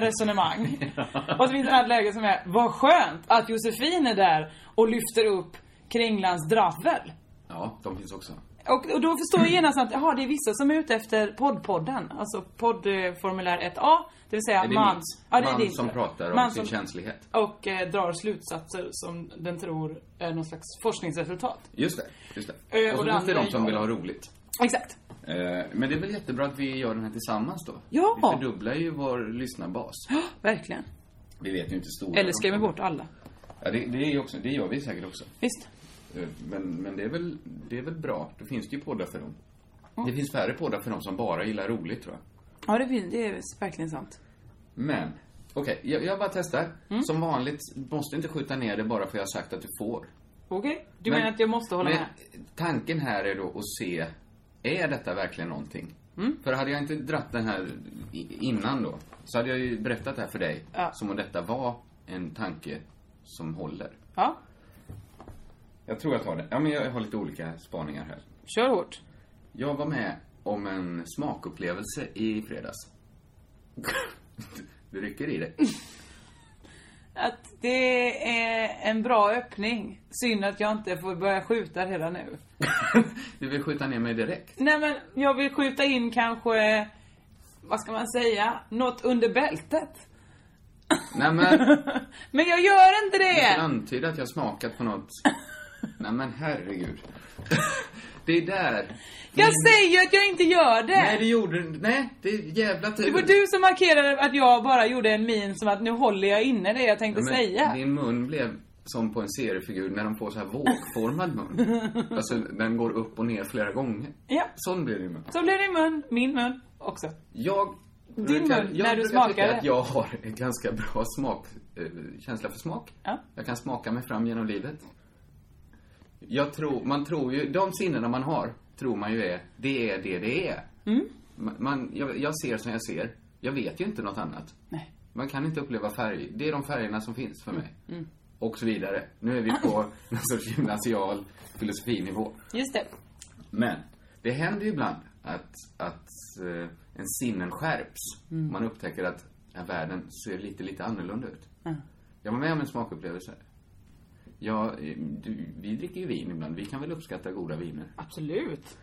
[SPEAKER 7] resonemang. och så finns det ett annat läge som är, vad skönt att Josefin är där och lyfter upp Kringlans dravel.
[SPEAKER 6] Ja, de finns också.
[SPEAKER 7] Och, och då förstår jag genast att jaha, det är vissa som är ute efter poddpodden. Alltså poddformulär 1A. Det vill säga
[SPEAKER 6] Är det
[SPEAKER 7] man.
[SPEAKER 6] mitt?
[SPEAKER 7] Ja, det är
[SPEAKER 6] man
[SPEAKER 7] ditt.
[SPEAKER 6] som pratar om
[SPEAKER 7] Man
[SPEAKER 6] sin
[SPEAKER 7] som-
[SPEAKER 6] känslighet.
[SPEAKER 7] Och eh, drar slutsatser som den tror är någon slags forskningsresultat.
[SPEAKER 6] Just det, just
[SPEAKER 7] Eh,
[SPEAKER 6] det. Och
[SPEAKER 7] och
[SPEAKER 6] så
[SPEAKER 7] det
[SPEAKER 6] finns det
[SPEAKER 7] andra
[SPEAKER 6] de som
[SPEAKER 7] är-
[SPEAKER 6] vill ha roligt.
[SPEAKER 7] Exakt.
[SPEAKER 6] Eh, Men det är väl jättebra att vi gör den här tillsammans då?
[SPEAKER 7] Ja.
[SPEAKER 6] Vi fördubblar ju vår lyssnarbas.
[SPEAKER 7] Ja, verkligen.
[SPEAKER 6] Vi vet ju inte stora.
[SPEAKER 7] Eller skrämmer bort alla.
[SPEAKER 6] Ja, det, det, är ju också, det gör vi säkert också.
[SPEAKER 7] Visst.
[SPEAKER 6] Eh, Men, men det, är väl, det är väl bra. Då finns det ju poddar för dem. Det finns färre poddar för dem som bara gillar roligt tror jag.
[SPEAKER 7] Ja, det, fin- det är verkligen sant.
[SPEAKER 6] Men, okej, jag, jag bara testar.
[SPEAKER 7] Mm.
[SPEAKER 6] Som vanligt, måste inte skjuta ner det bara för jag har sagt att du får.
[SPEAKER 7] Okej? Du menar att jag måste hålla
[SPEAKER 6] men
[SPEAKER 7] med?
[SPEAKER 6] Tanken här är då att se, är detta verkligen någonting?
[SPEAKER 7] Mm.
[SPEAKER 6] För hade jag inte dratt den här i- innan då, så hade jag ju berättat det här för dig.
[SPEAKER 7] Ja.
[SPEAKER 6] Som om detta var en tanke som håller.
[SPEAKER 7] Ja.
[SPEAKER 6] Jag tror jag tar det. Ja, men jag har lite olika spaningar här.
[SPEAKER 7] Kör hårt.
[SPEAKER 6] Jag var med om en smakupplevelse i fredags. du rycker i det.
[SPEAKER 7] Att det är en bra öppning. Synd att jag inte får börja skjuta redan nu.
[SPEAKER 6] Du vill skjuta ner mig direkt.
[SPEAKER 7] Nej men jag vill skjuta in kanske, vad ska man säga, något under bältet.
[SPEAKER 6] Nej men,
[SPEAKER 7] Men jag gör inte
[SPEAKER 6] du
[SPEAKER 7] det!
[SPEAKER 6] antyder att jag smakat på något. Nej men herregud. Det är där.
[SPEAKER 7] Jag säger ju att jag inte gör
[SPEAKER 6] Nej, det
[SPEAKER 7] det!
[SPEAKER 6] gjorde du Nej, det är jävla tur.
[SPEAKER 7] Det var du som markerade att jag bara gjorde en min som att nu håller jag inne det jag
[SPEAKER 6] Ja,
[SPEAKER 7] tänkte
[SPEAKER 6] men
[SPEAKER 7] säga.
[SPEAKER 6] Din mun blev som på en seriefigur när de får så här vågformad mun. Alltså, den går upp och ner flera gånger.
[SPEAKER 7] Ja.
[SPEAKER 6] Sån blir din mun.
[SPEAKER 7] Så blev det mun, min mun också.
[SPEAKER 6] Jag
[SPEAKER 7] Din
[SPEAKER 6] brukar,
[SPEAKER 7] mun,
[SPEAKER 6] jag
[SPEAKER 7] när du
[SPEAKER 6] brukar
[SPEAKER 7] smakade.
[SPEAKER 6] tycka att jag har en ganska bra smak, eh, känsla för smak.
[SPEAKER 7] Ja.
[SPEAKER 6] Jag kan smaka mig fram genom livet. Jag tror, man tror ju, de sinnena man har, tror man ju är, det är det det är.
[SPEAKER 7] Mm.
[SPEAKER 6] Man, man, jag, jag ser som jag ser. Jag vet ju inte något annat.
[SPEAKER 7] Nej.
[SPEAKER 6] Man kan inte uppleva färg. Det är de färgerna som finns
[SPEAKER 7] Mm.
[SPEAKER 6] för mig. Och så vidare. Nu är vi på någon sorts gymnasial filosofinivå.
[SPEAKER 7] Just det.
[SPEAKER 6] Men det händer ju ibland att, att eh, en sinnen skärps.
[SPEAKER 7] Mm.
[SPEAKER 6] Man upptäcker att ja, världen ser lite, lite annorlunda ut.
[SPEAKER 7] Mm.
[SPEAKER 6] Jag var med om en smakupplevelse. Ja, eh, du, vi dricker ju vin ibland. Vi kan väl uppskatta goda viner.
[SPEAKER 7] Absolut.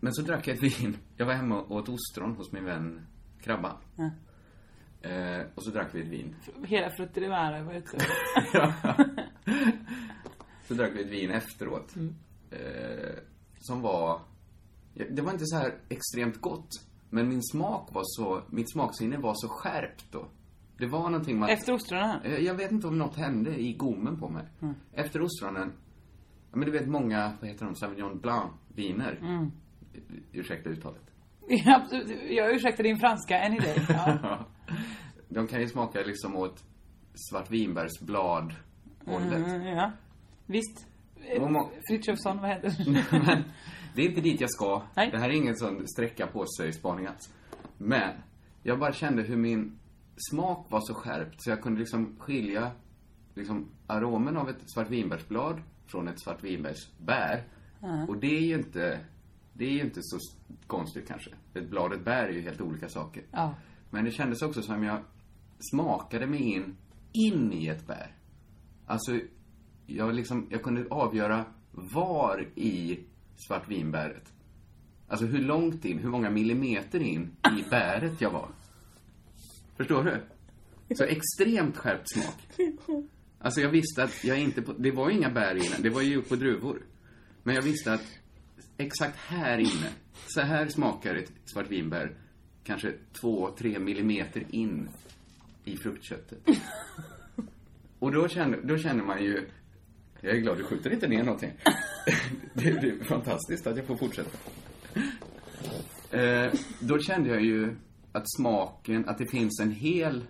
[SPEAKER 6] Men så drack jag ett vin. Jag var hemma och åt ostron hos min vän Krabba.
[SPEAKER 7] Ja.
[SPEAKER 6] Eh, och så drack vi ett vin.
[SPEAKER 7] Hela fruttilimera var ute.
[SPEAKER 6] så drack vi ett vin efteråt.
[SPEAKER 7] Mm.
[SPEAKER 6] Eh, som var... ja, Det var inte så här extremt gott. Men min smak var så... Mitt smaksinne var så skärpt då. Det var någonting med att-
[SPEAKER 7] Efter ostronen?
[SPEAKER 6] Eh, Jag vet inte om något hände i gommen på mig.
[SPEAKER 7] Mm.
[SPEAKER 6] Efter ostronen... Ja, men du vet många, vad heter de, Sauvignon Blanc-viner.
[SPEAKER 7] Mm.
[SPEAKER 6] Ursäkta uttalet.
[SPEAKER 7] Ja, absolut. Jag ursäktar din franska, en idé. Ja.
[SPEAKER 6] Ja. De kan ju smaka liksom åt svartvinbärsblad hållet.
[SPEAKER 7] Mm, ja. Visst.
[SPEAKER 6] Och må-
[SPEAKER 7] Frithiofsson, vad heter
[SPEAKER 6] Men det är inte dit jag ska.
[SPEAKER 7] Nej.
[SPEAKER 6] Det här är ingen sån sträcka på sig spaning alls. Men jag bara kände hur min smak var så skärpt så jag kunde liksom skilja liksom aromen av ett svartvinbärsblad från ett svartvinbärsbär. Och det är ju inte det är ju inte så konstigt kanske. Ett blad och ett bär är ju helt olika saker.
[SPEAKER 7] Ja.
[SPEAKER 6] Men det kändes också som jag smakade mig in, in i ett bär. Alltså, jag, liksom, jag kunde avgöra var i svartvinbäret. Alltså hur långt in, hur många millimeter in i bäret jag var. Förstår du? Så extremt skärpt smak. Alltså jag visste att jag inte... På, det var ju inga bär i den, det var ju gjort på druvor. Men jag visste att exakt här inne, så här smakar ett svartvinbär kanske 2-3 millimeter in i fruktköttet. Och då känner, då känner man ju... Jag är glad du skjuter inte ner någonting. Det är ju fantastiskt att jag får fortsätta. Eh, då kände jag ju att smaken, att det finns en hel...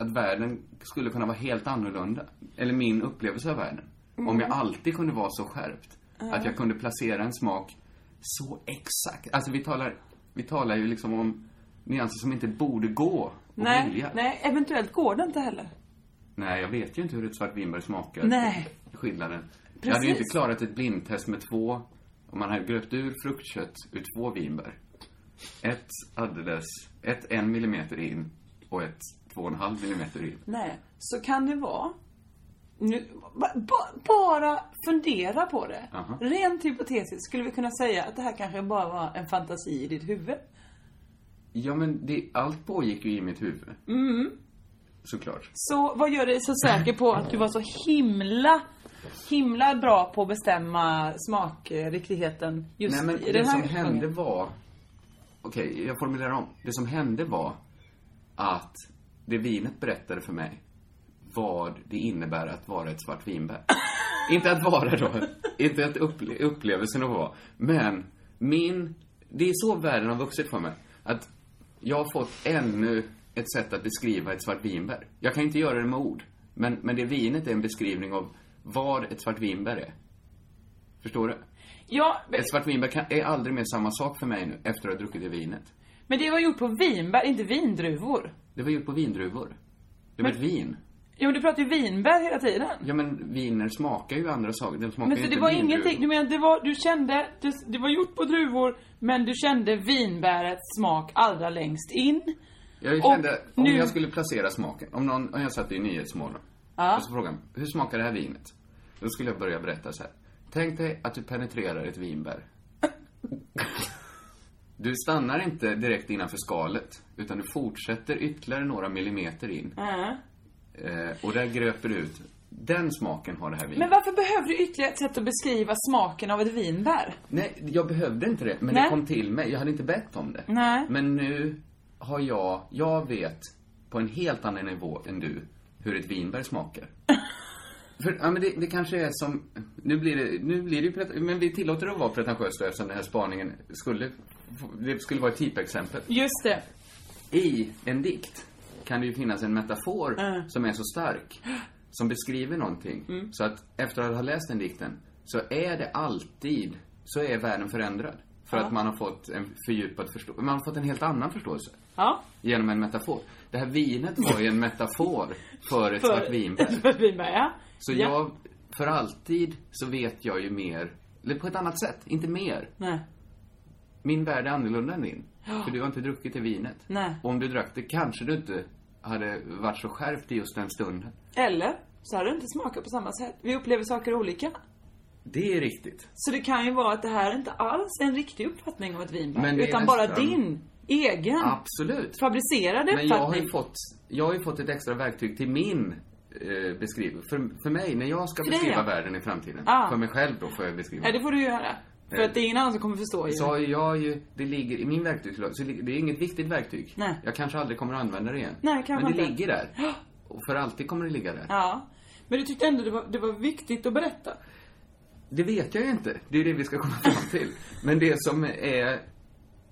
[SPEAKER 6] Att världen skulle kunna vara helt annorlunda. Eller min upplevelse av världen.
[SPEAKER 10] Mm.
[SPEAKER 6] Om jag alltid kunde vara så skärpt.
[SPEAKER 10] Ja.
[SPEAKER 6] Att jag kunde placera en smak så exakt. Alltså vi talar, vi talar ju liksom om nyanser som inte borde gå och
[SPEAKER 7] Nej,
[SPEAKER 6] vilja.
[SPEAKER 7] nej, eventuellt går det inte heller.
[SPEAKER 6] Nej, jag vet ju inte hur ett svart vinbär smakar.
[SPEAKER 7] Nej.
[SPEAKER 6] Skillnaden. Jag hade ju
[SPEAKER 7] Precis.
[SPEAKER 6] inte klarat ett blindtest med två, om man hade gröpt ur fruktkött ur två vinbär. Ett alldeles, ett en millimeter in och ett två och en halv millimeter in.
[SPEAKER 7] Nej, så kan det vara. Nu, ba, ba, bara fundera på det.
[SPEAKER 6] Aha.
[SPEAKER 7] Rent hypotetiskt skulle vi kunna säga att det här kanske bara var en fantasi i ditt huvud.
[SPEAKER 6] Ja, men det, allt pågick ju i mitt huvud,
[SPEAKER 7] Mm.
[SPEAKER 6] såklart.
[SPEAKER 7] Så vad gör dig så säker på att du var så himla, himla bra på att bestämma smakriktigheten just
[SPEAKER 6] Nej, men
[SPEAKER 7] i
[SPEAKER 6] det
[SPEAKER 7] den här
[SPEAKER 6] som hände var... Okej, jag formulerar om. Det som hände var att det vinet berättade för mig vad det innebär att vara ett svart vinbär. inte att vara då, inte att upple- upplevelsen att vara. Men min... Det är så världen har vuxit för mig. Att jag har fått ännu ett sätt att beskriva ett svart vinbär. Jag kan inte göra det med ord. Men, men det vinet är en beskrivning av vad ett svart vinbär är. Förstår du?
[SPEAKER 7] Ja, men,
[SPEAKER 6] Ett Eh, svart vinbär kan, är aldrig mer samma sak för mig nu efter att ha druckit det vinet.
[SPEAKER 7] men det var gjort på vinbär, inte vindruvor.
[SPEAKER 6] Det var gjort på vindruvor. Det var ett vin.
[SPEAKER 7] Jo, du pratar ju vinbär hela tiden.
[SPEAKER 6] Ja, men viner smakar ju andra saker. De smakar
[SPEAKER 7] Men
[SPEAKER 6] ju
[SPEAKER 7] så
[SPEAKER 6] inte
[SPEAKER 7] det var
[SPEAKER 6] vindruvor.
[SPEAKER 7] ingenting, du menar det var, du kände, det, det var gjort på druvor, men du kände vinbärets smak allra längst in.
[SPEAKER 6] Jag
[SPEAKER 7] Och
[SPEAKER 6] kände, om
[SPEAKER 7] nu-
[SPEAKER 6] jag skulle placera smaken. Om, någon, om jag satt i Nyhetsmorgon.
[SPEAKER 7] Ja.
[SPEAKER 6] Och så frågade han, hur smakar det här vinet? Då skulle jag börja berätta så här. Tänk dig att du penetrerar ett vinbär. Du stannar inte direkt innanför skalet. Utan du fortsätter ytterligare några millimeter in.
[SPEAKER 7] Ja.
[SPEAKER 6] Eh, och där gröper du ut. Den smaken har det här vinet.
[SPEAKER 7] Men varför behöver du ytterligare ett sätt att beskriva smaken av ett vinbär?
[SPEAKER 6] Nej, jag behövde inte det, men
[SPEAKER 7] Nej. Mm.
[SPEAKER 6] det kom till mig. Jag hade inte bett om det.
[SPEAKER 7] Nej.
[SPEAKER 6] Men nu har jag, jag vet på en helt annan nivå än du hur ett vinbär smakar. För, ja, men det, det kanske är som, nu blir det, nu blir det ju, pret- men vi tillåter det att vara pretentiöst då, eftersom den här spaningen skulle, det skulle vara ett typexempel.
[SPEAKER 7] Just det.
[SPEAKER 6] I en dikt kan det ju finnas en metafor som är så stark, som beskriver någonting.
[SPEAKER 7] Mm.
[SPEAKER 6] Så att efter att ha läst den dikten så är det alltid, så är världen förändrad. För
[SPEAKER 10] Ja.
[SPEAKER 6] att man har fått en fördjupad förståelse, man har fått en helt annan förståelse.
[SPEAKER 7] Ja.
[SPEAKER 6] Genom en metafor. Det här vinet var ju en metafor för ett
[SPEAKER 7] För-
[SPEAKER 6] svart vinbär.
[SPEAKER 7] För ett vinbär, ja.
[SPEAKER 6] Så
[SPEAKER 7] Ja.
[SPEAKER 6] jag, för alltid så vet jag ju mer, eller på ett annat sätt, inte mer.
[SPEAKER 7] Nej.
[SPEAKER 6] Min värld är annorlunda än din.
[SPEAKER 7] Ja.
[SPEAKER 6] För du har inte druckit det vinet.
[SPEAKER 7] Nej.
[SPEAKER 6] Och om du drack det kanske du inte hade varit så skärpt i just den stunden.
[SPEAKER 7] Eller så har du inte smakat på samma sätt. Vi upplever saker olika.
[SPEAKER 6] Det är riktigt.
[SPEAKER 7] Så det kan ju vara att det här inte alls är en riktig uppfattning av ett vinbär.
[SPEAKER 6] Men det är
[SPEAKER 7] utan
[SPEAKER 6] nästan-
[SPEAKER 7] bara din egen.
[SPEAKER 6] Absolut.
[SPEAKER 7] Fabricerade
[SPEAKER 6] Men jag har
[SPEAKER 7] uppfattning.
[SPEAKER 6] ju fått, jag har ju fått ett extra verktyg till min eh, beskrivning. För, för mig, när jag ska
[SPEAKER 7] För dig,
[SPEAKER 6] beskriva
[SPEAKER 7] ja.
[SPEAKER 6] världen i framtiden.
[SPEAKER 7] Ah.
[SPEAKER 6] För mig själv då får jag beskriva.
[SPEAKER 7] Nej, det får du göra. För
[SPEAKER 6] Eh.
[SPEAKER 7] att det är ingen annan som kommer förstå ju.
[SPEAKER 6] Så har ju jag ju, det ligger i min verktygslåda, så det ligger- det är inget viktigt verktyg.
[SPEAKER 7] Nej.
[SPEAKER 6] Jag kanske aldrig kommer att använda det igen.
[SPEAKER 7] Nej, kanske
[SPEAKER 6] Men det
[SPEAKER 7] inte. Ah.
[SPEAKER 6] ligger där. Och för alltid kommer det ligga där.
[SPEAKER 7] Ja. Men du tyckte ändå det var, det var viktigt att berätta.
[SPEAKER 6] Det vet jag ju inte. Det är ju det vi ska komma fram till. Men det som är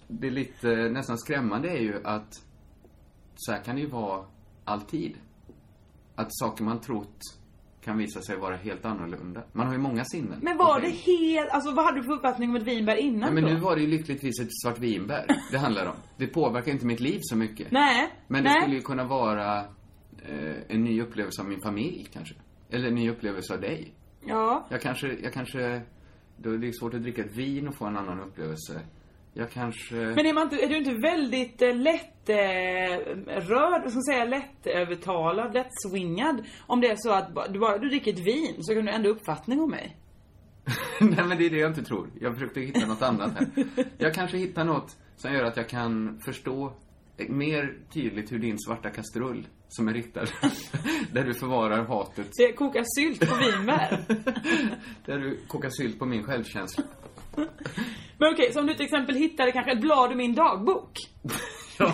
[SPEAKER 6] det lite nästan skrämmande är ju att så här kan det ju vara alltid. Att saker man trott kan visa sig vara helt annorlunda. Man har ju många sinnen.
[SPEAKER 7] Men var det helt, alltså vad hade du för uppfattning om ett vinbär innan
[SPEAKER 6] Nej, men
[SPEAKER 7] då?
[SPEAKER 6] nu var det ju lyckligtvis ett svart vinbär det handlar om. Det påverkar inte mitt liv så mycket.
[SPEAKER 7] Nej,
[SPEAKER 6] Men det
[SPEAKER 7] nej.
[SPEAKER 6] skulle ju kunna vara eh, en ny upplevelse av min familj kanske. Eller en ny upplevelse av dig.
[SPEAKER 7] Ja.
[SPEAKER 6] Jag kanske, jag kanske, då är det ju svårt att dricka ett vin och få en annan upplevelse. Jag kanske...
[SPEAKER 7] Men är, man inte, är du inte väldigt eh, lätt eh, rörd, vad ska man säga, lättövertalad, lättswingad? Om det är så att ba- du bara du dricker ett vin så kan du ändra uppfattning om mig.
[SPEAKER 6] Nej men det är det jag inte tror. Jag försökte hitta något annat här. Jag kanske hittar något som gör att jag kan förstå mer tydligt hur din svarta kastrull, som är riktad, där du förvarar hatet,
[SPEAKER 7] Så jag kokar sylt på vinbär.
[SPEAKER 6] där du kokar sylt på min självkänsla.
[SPEAKER 7] Men okej, så om du till exempel hittade kanske ett blad ur min dagbok.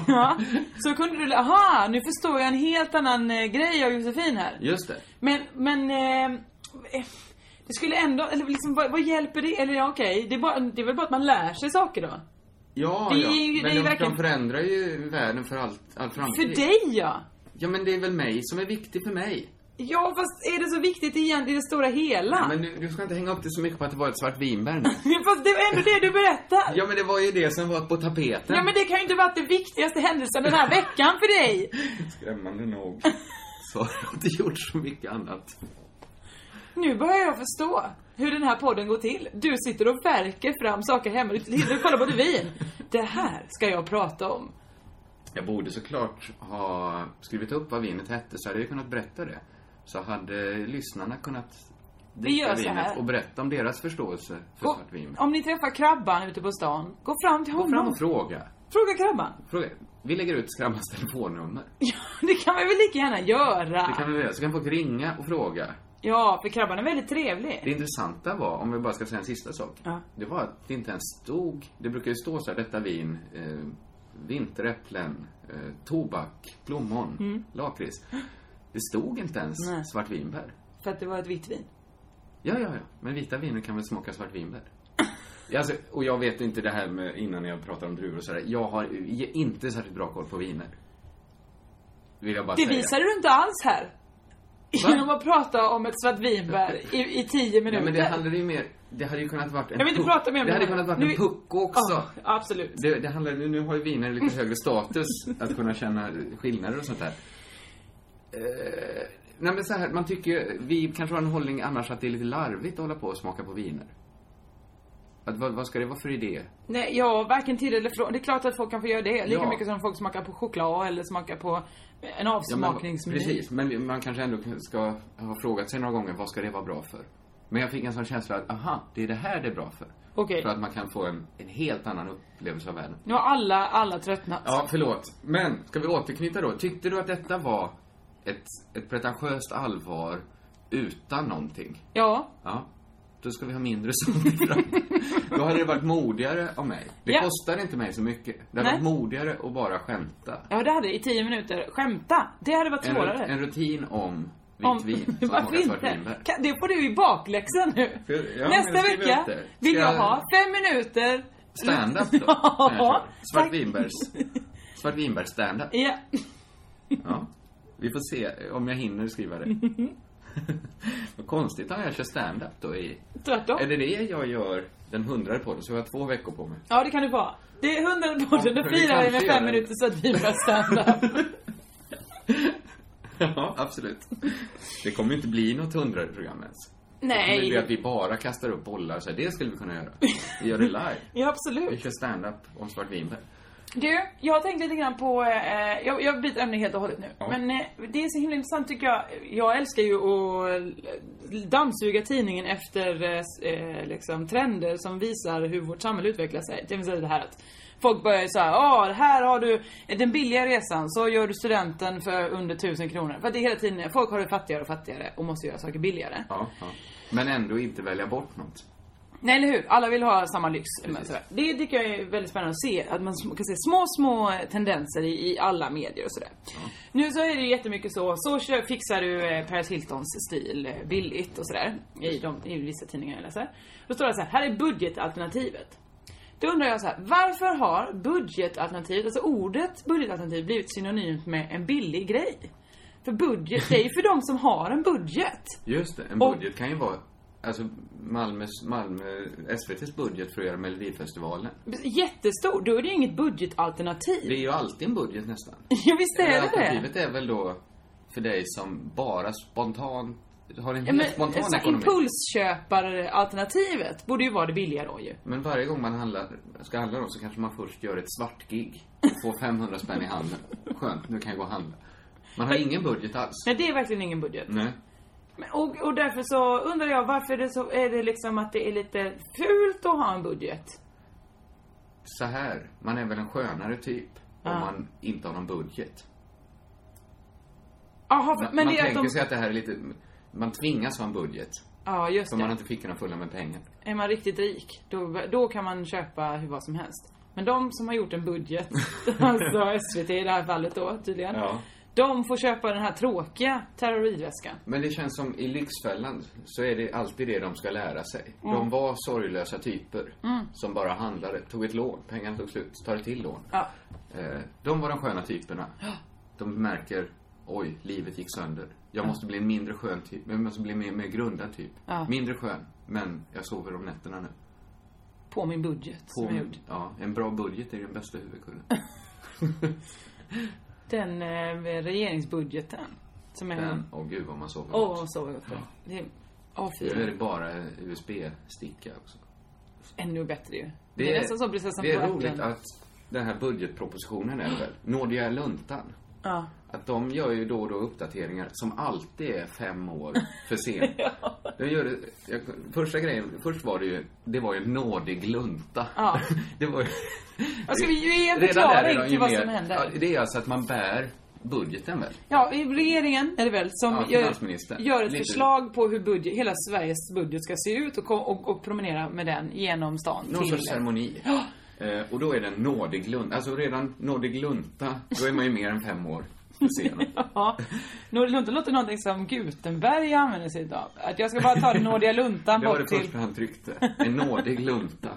[SPEAKER 7] ja. Så kunde du, aha, nu förstår jag en helt annan eh, grej av Josefin här.
[SPEAKER 6] Just det.
[SPEAKER 7] Men, men... Eh, eh, det skulle ändå, eller liksom vad, vad hjälper det? Eller ja, okej, det, är bara- det är väl bara att man lär sig saker då?
[SPEAKER 6] Ja,
[SPEAKER 7] Det är
[SPEAKER 6] ja.
[SPEAKER 7] ju- det är
[SPEAKER 6] men
[SPEAKER 7] ju
[SPEAKER 6] de, de
[SPEAKER 7] verkligen-
[SPEAKER 6] förändrar ju världen för allt, all framtid.
[SPEAKER 7] För dig ja!
[SPEAKER 6] Ja, men det är väl mig som är viktig för mig.
[SPEAKER 7] Ja, fast är det så viktigt egentligen i det stora hela?
[SPEAKER 6] Men du, du ska inte hänga upp dig så mycket på att det var ett svart vinbär nu.
[SPEAKER 7] Fast det är ändå det du berättar!
[SPEAKER 6] Ja, men det var ju det som var på tapeten.
[SPEAKER 7] Ja men det kan ju inte vara den viktigaste händelsen den här veckan för dig!
[SPEAKER 6] Skrämmande nog så har jag inte gjort så mycket annat.
[SPEAKER 7] Nu börjar jag förstå hur den här podden går till. Du sitter och verkar fram saker hemma. Du sitter och kollar på revyn. Det här ska jag prata om.
[SPEAKER 6] Jag borde såklart ha skrivit upp vad vinet hette så hade jag kunnat berätta det. Så hade lyssnarna kunnat
[SPEAKER 7] gör
[SPEAKER 6] dricka
[SPEAKER 7] så här.
[SPEAKER 6] vinet och berätta om deras förståelse för
[SPEAKER 7] Gå-
[SPEAKER 6] svart vin.
[SPEAKER 7] Om ni träffar Krabban ute på stan, gå fram till
[SPEAKER 6] Gå fram
[SPEAKER 7] honom.
[SPEAKER 6] och fråga.
[SPEAKER 7] Fråga Krabban.
[SPEAKER 6] fråga. Vi lägger ut Skrabbans telefonnummer.
[SPEAKER 7] Det kan man väl lika gärna
[SPEAKER 6] Det
[SPEAKER 7] göra.
[SPEAKER 6] kan vi göra. Så kan folk ringa och fråga.
[SPEAKER 7] Ja, för Krabban är väldigt trevlig.
[SPEAKER 6] Det intressanta var, om vi bara ska säga en sista sak.
[SPEAKER 7] Ja.
[SPEAKER 6] Det var att det inte ens stod, det brukar ju stå så här, detta vin, eh, vinteräpplen, eh, tobak, plommon,
[SPEAKER 7] Mm.
[SPEAKER 6] lakrits. Det stod inte ens
[SPEAKER 7] Nej.
[SPEAKER 6] svartvinbär.
[SPEAKER 7] För att det var ett vitt vin.
[SPEAKER 6] Ja, ja, ja. Men vita viner kan väl smaka svartvinbär? Ja, Alltså, och jag vet inte det här med innan jag pratar om druvor och sådär. Jag har ju inte särskilt bra koll på viner. Vill jag bara
[SPEAKER 7] Det
[SPEAKER 6] säga.
[SPEAKER 7] visade du inte alls här. Genom att prata om ett svart vinbär i, i tio minuter.
[SPEAKER 6] Nej, men det handlade ju mer, det hade ju kunnat varit en
[SPEAKER 7] Jag vill inte
[SPEAKER 6] puck-
[SPEAKER 7] prata mer om
[SPEAKER 6] Det hade
[SPEAKER 7] här.
[SPEAKER 6] kunnat varit
[SPEAKER 7] Nu-
[SPEAKER 6] en pucko också.
[SPEAKER 7] Ja, absolut.
[SPEAKER 6] Det, det handlar, nu, nu har ju viner lite högre status att kunna känna skillnader och sånt där. Eh, nej men så här, man tycker ju- vi kanske har en hållning annars att det är lite larvigt att hålla på och smaka på viner. Att, vad, vad ska det vara för idé?
[SPEAKER 7] Nej, ja, varken till eller från. Det är klart att folk kan få göra det. Lika
[SPEAKER 6] Ja.
[SPEAKER 7] mycket som folk smakar på choklad eller smakar på en
[SPEAKER 6] Ja, men-
[SPEAKER 7] avsmakningsmeny.
[SPEAKER 6] Precis, men man kanske ändå ska ha frågat sig några gånger, vad ska det vara bra för? Men jag fick en sån känsla att, aha, det är det här det är bra för.
[SPEAKER 7] Okej.
[SPEAKER 6] För att man kan få en, en helt annan upplevelse av världen.
[SPEAKER 7] Nu har alla, alla tröttnat.
[SPEAKER 6] Ja, förlåt. Men, ska vi återknyta då? Tyckte du att detta var ett, ett pretentiöst allvar utan någonting?
[SPEAKER 7] Ja.
[SPEAKER 6] Ja. Då ska vi ha mindre sånt i framtiden. Då hade det varit modigare av mig. Det
[SPEAKER 7] Ja.
[SPEAKER 6] kostar inte mig så mycket. Det hade
[SPEAKER 7] Nej.
[SPEAKER 6] varit modigare att bara skämta.
[SPEAKER 7] Ja, det hade i tio minuter. Skämta! Det hade varit
[SPEAKER 6] En,
[SPEAKER 7] svårare.
[SPEAKER 6] rut- en rutin om vitt
[SPEAKER 7] Om-
[SPEAKER 6] vin. som
[SPEAKER 7] Varför
[SPEAKER 6] smakar svart
[SPEAKER 7] inte?
[SPEAKER 6] vinbär.
[SPEAKER 7] Kan, det får du i bakläxan nu.
[SPEAKER 6] För- ja, men
[SPEAKER 7] Nästa
[SPEAKER 6] jag skriver
[SPEAKER 7] vecka
[SPEAKER 6] upp det.
[SPEAKER 7] vill
[SPEAKER 6] Ska
[SPEAKER 7] jag
[SPEAKER 6] jag-
[SPEAKER 7] ha fem minuter.
[SPEAKER 6] Stand-up då?
[SPEAKER 7] Ja.
[SPEAKER 6] när jag kör. Svart
[SPEAKER 7] Tack.
[SPEAKER 6] vinbärs... Svart vinbärs stand-up.
[SPEAKER 7] Ja.
[SPEAKER 6] Ja. Vi får se om jag hinner skriva det. Vad konstigt om jag kör stand-up då i...
[SPEAKER 7] Tvärtom.
[SPEAKER 6] Är det det jag gör den hundrade podden? Så jag har två veckor på mig.
[SPEAKER 7] Ja, det kan det vara. Det är hundrade podden.
[SPEAKER 6] Ja,
[SPEAKER 7] Då
[SPEAKER 6] vi
[SPEAKER 7] firar
[SPEAKER 6] kanske
[SPEAKER 7] vi med
[SPEAKER 6] gör
[SPEAKER 7] fem
[SPEAKER 6] det.
[SPEAKER 7] minuter så att vi börjar stand-up.
[SPEAKER 6] Ja, absolut. Det kommer ju inte bli något hundrade program ens. Det kommer ju bli
[SPEAKER 7] Nej.
[SPEAKER 6] att vi bara kastar upp bollar så här, det skulle vi kunna göra. Vi gör det live.
[SPEAKER 7] Ja,
[SPEAKER 6] Vi
[SPEAKER 7] absolut.
[SPEAKER 6] kör stand-up om svart vinbär.
[SPEAKER 7] Du, jag har tänkt lite grann på, eh, jag, jag byter ämne helt och hållet nu.
[SPEAKER 6] Ja.
[SPEAKER 7] Men eh, det är så himla intressant tycker jag. Jag älskar ju att dammsuga tidningen efter eh, s- eh, liksom, trender som visar hur vårt samhälle utvecklar sig. Det vill säga det här att folk börjar ju så här, ah, här har du den billiga resan, så gör du studenten för under 1000 kronor. För att det är hela tiden, folk har det fattigare och fattigare och måste göra saker billigare.
[SPEAKER 6] Ja, ja. Men ändå inte välja bort något.
[SPEAKER 7] Nej eller hur, alla vill ha samma lyx.
[SPEAKER 6] Precis.
[SPEAKER 7] Men sådär. Det tycker jag är väldigt spännande att se, att man sm- kan se små, små tendenser i, i alla medier och sådär. Nu så är det ju jättemycket så, så kö- fixar du eh, Paris Hiltons stil eh, billigt och sådär. I, de, I vissa tidningar jag läser. Då står det så här, här är budgetalternativet. Då undrar jag så här, varför har budgetalternativet, alltså ordet budgetalternativ blivit synonymt med en billig grej? För budget, det är ju för de som har en budget.
[SPEAKER 6] Just det, en
[SPEAKER 7] Och-
[SPEAKER 6] budget kan ju vara... Alltså Malmös, Malmö, SVTs budget för att göra Melodifestivalen.
[SPEAKER 7] Jättestor, då är det ju inget budgetalternativ.
[SPEAKER 6] Det är ju alltid en budget nästan.
[SPEAKER 7] Ja visst är det det.
[SPEAKER 6] Alternativet är väl då för dig som bara spontant har en helt
[SPEAKER 7] Ja, men,
[SPEAKER 6] spontan
[SPEAKER 7] så
[SPEAKER 6] ekonomi.
[SPEAKER 7] impulsköpare-alternativet borde ju vara det billiga då ju.
[SPEAKER 6] Men varje gång man handlar, ska handla då så kanske man först gör ett svartgig och får 500 spänn i handen. Skönt, nu kan jag gå och handla. Man har ingen budget alls.
[SPEAKER 7] Nej, det är verkligen ingen budget.
[SPEAKER 6] Nej.
[SPEAKER 7] Men, och, och därför så undrar jag varför det så, är det liksom att det är lite fult att ha en budget?
[SPEAKER 6] Så här, man är väl en skönare typ.
[SPEAKER 7] Ah.
[SPEAKER 6] om man inte har någon budget.
[SPEAKER 7] Jaha,
[SPEAKER 6] Man,
[SPEAKER 7] men
[SPEAKER 6] man
[SPEAKER 7] det är
[SPEAKER 6] tänker
[SPEAKER 7] att de...
[SPEAKER 6] sig att det här är lite, man tvingas ha en budget.
[SPEAKER 7] Ja, just
[SPEAKER 6] För
[SPEAKER 7] det.
[SPEAKER 6] man har inte fickorna fulla med pengar.
[SPEAKER 7] Är man riktigt rik, då, då kan man köpa hur vad som helst. Men de som har gjort en budget, alltså SVT i det här fallet då tydligen.
[SPEAKER 6] Ja.
[SPEAKER 7] De får köpa den här tråkiga terroridväskan.
[SPEAKER 6] Men det känns som i Lyxfällan så är det alltid det de ska lära sig.
[SPEAKER 7] Mm.
[SPEAKER 6] De var sorglösa typer
[SPEAKER 7] Mm.
[SPEAKER 6] som bara handlade, tog ett lån, pengarna tog slut, tar ett till lån.
[SPEAKER 7] Ja.
[SPEAKER 6] Eh, de var de sköna typerna. De märker, oj, livet gick sönder. Jag måste bli en mindre skön typ, jag måste bli en mer, mer grundad typ.
[SPEAKER 7] Ja.
[SPEAKER 6] Mindre skön, men jag sover om nätterna nu.
[SPEAKER 7] På min budget som jag gjort.
[SPEAKER 6] ja, en bra budget är den bästa huvudkudden.
[SPEAKER 7] Den eh, regeringsbudgeten. Som är...
[SPEAKER 6] Den, åh gud vad man sover
[SPEAKER 7] Åh,
[SPEAKER 6] gott.
[SPEAKER 7] så gott.
[SPEAKER 6] Ja.
[SPEAKER 7] Det är... Åh, fy.
[SPEAKER 6] Nu är det bara USB-sticka också.
[SPEAKER 7] Ännu bättre ju. Det, är nästan som prinsessan
[SPEAKER 6] Det
[SPEAKER 7] på
[SPEAKER 6] är
[SPEAKER 7] ärten.
[SPEAKER 6] roligt att den här budgetpropositionen är det väl, Nådiga luntan.
[SPEAKER 7] Ja.
[SPEAKER 6] Att de gör ju då och då uppdateringar som alltid är fem år för sent. de gör det, jag, första grejen, först var det ju, det var ju en nådig lunta.
[SPEAKER 7] Ja.
[SPEAKER 6] det var ju,
[SPEAKER 7] Ja, ska vi ge en
[SPEAKER 6] Redan där är
[SPEAKER 7] förklaring
[SPEAKER 6] de ju
[SPEAKER 7] till vad
[SPEAKER 6] mer-
[SPEAKER 7] som händer?
[SPEAKER 6] Ja, det är alltså att man bär budgeten väl?
[SPEAKER 7] Ja, i regeringen är det väl som
[SPEAKER 6] Ja,
[SPEAKER 7] gör,
[SPEAKER 6] finansministern.
[SPEAKER 7] gör ett
[SPEAKER 6] Lite-
[SPEAKER 7] förslag på hur budget, hela Sveriges budget ska se ut och, kom- och, och promenera med den genom stan.
[SPEAKER 6] Någon sorts ceremoni.
[SPEAKER 7] Ja.
[SPEAKER 6] Eh, och då är det en nådig lunta. Alltså redan nådig lunta, då är man ju mer än fem år för sent.
[SPEAKER 7] Ja. Nådig lunta låter någonting som Gutenberg använder sig utav. Att jag ska bara ta den nådiga luntan
[SPEAKER 6] Det var det
[SPEAKER 7] bort till...
[SPEAKER 6] första han tryckte. En nådig lunta.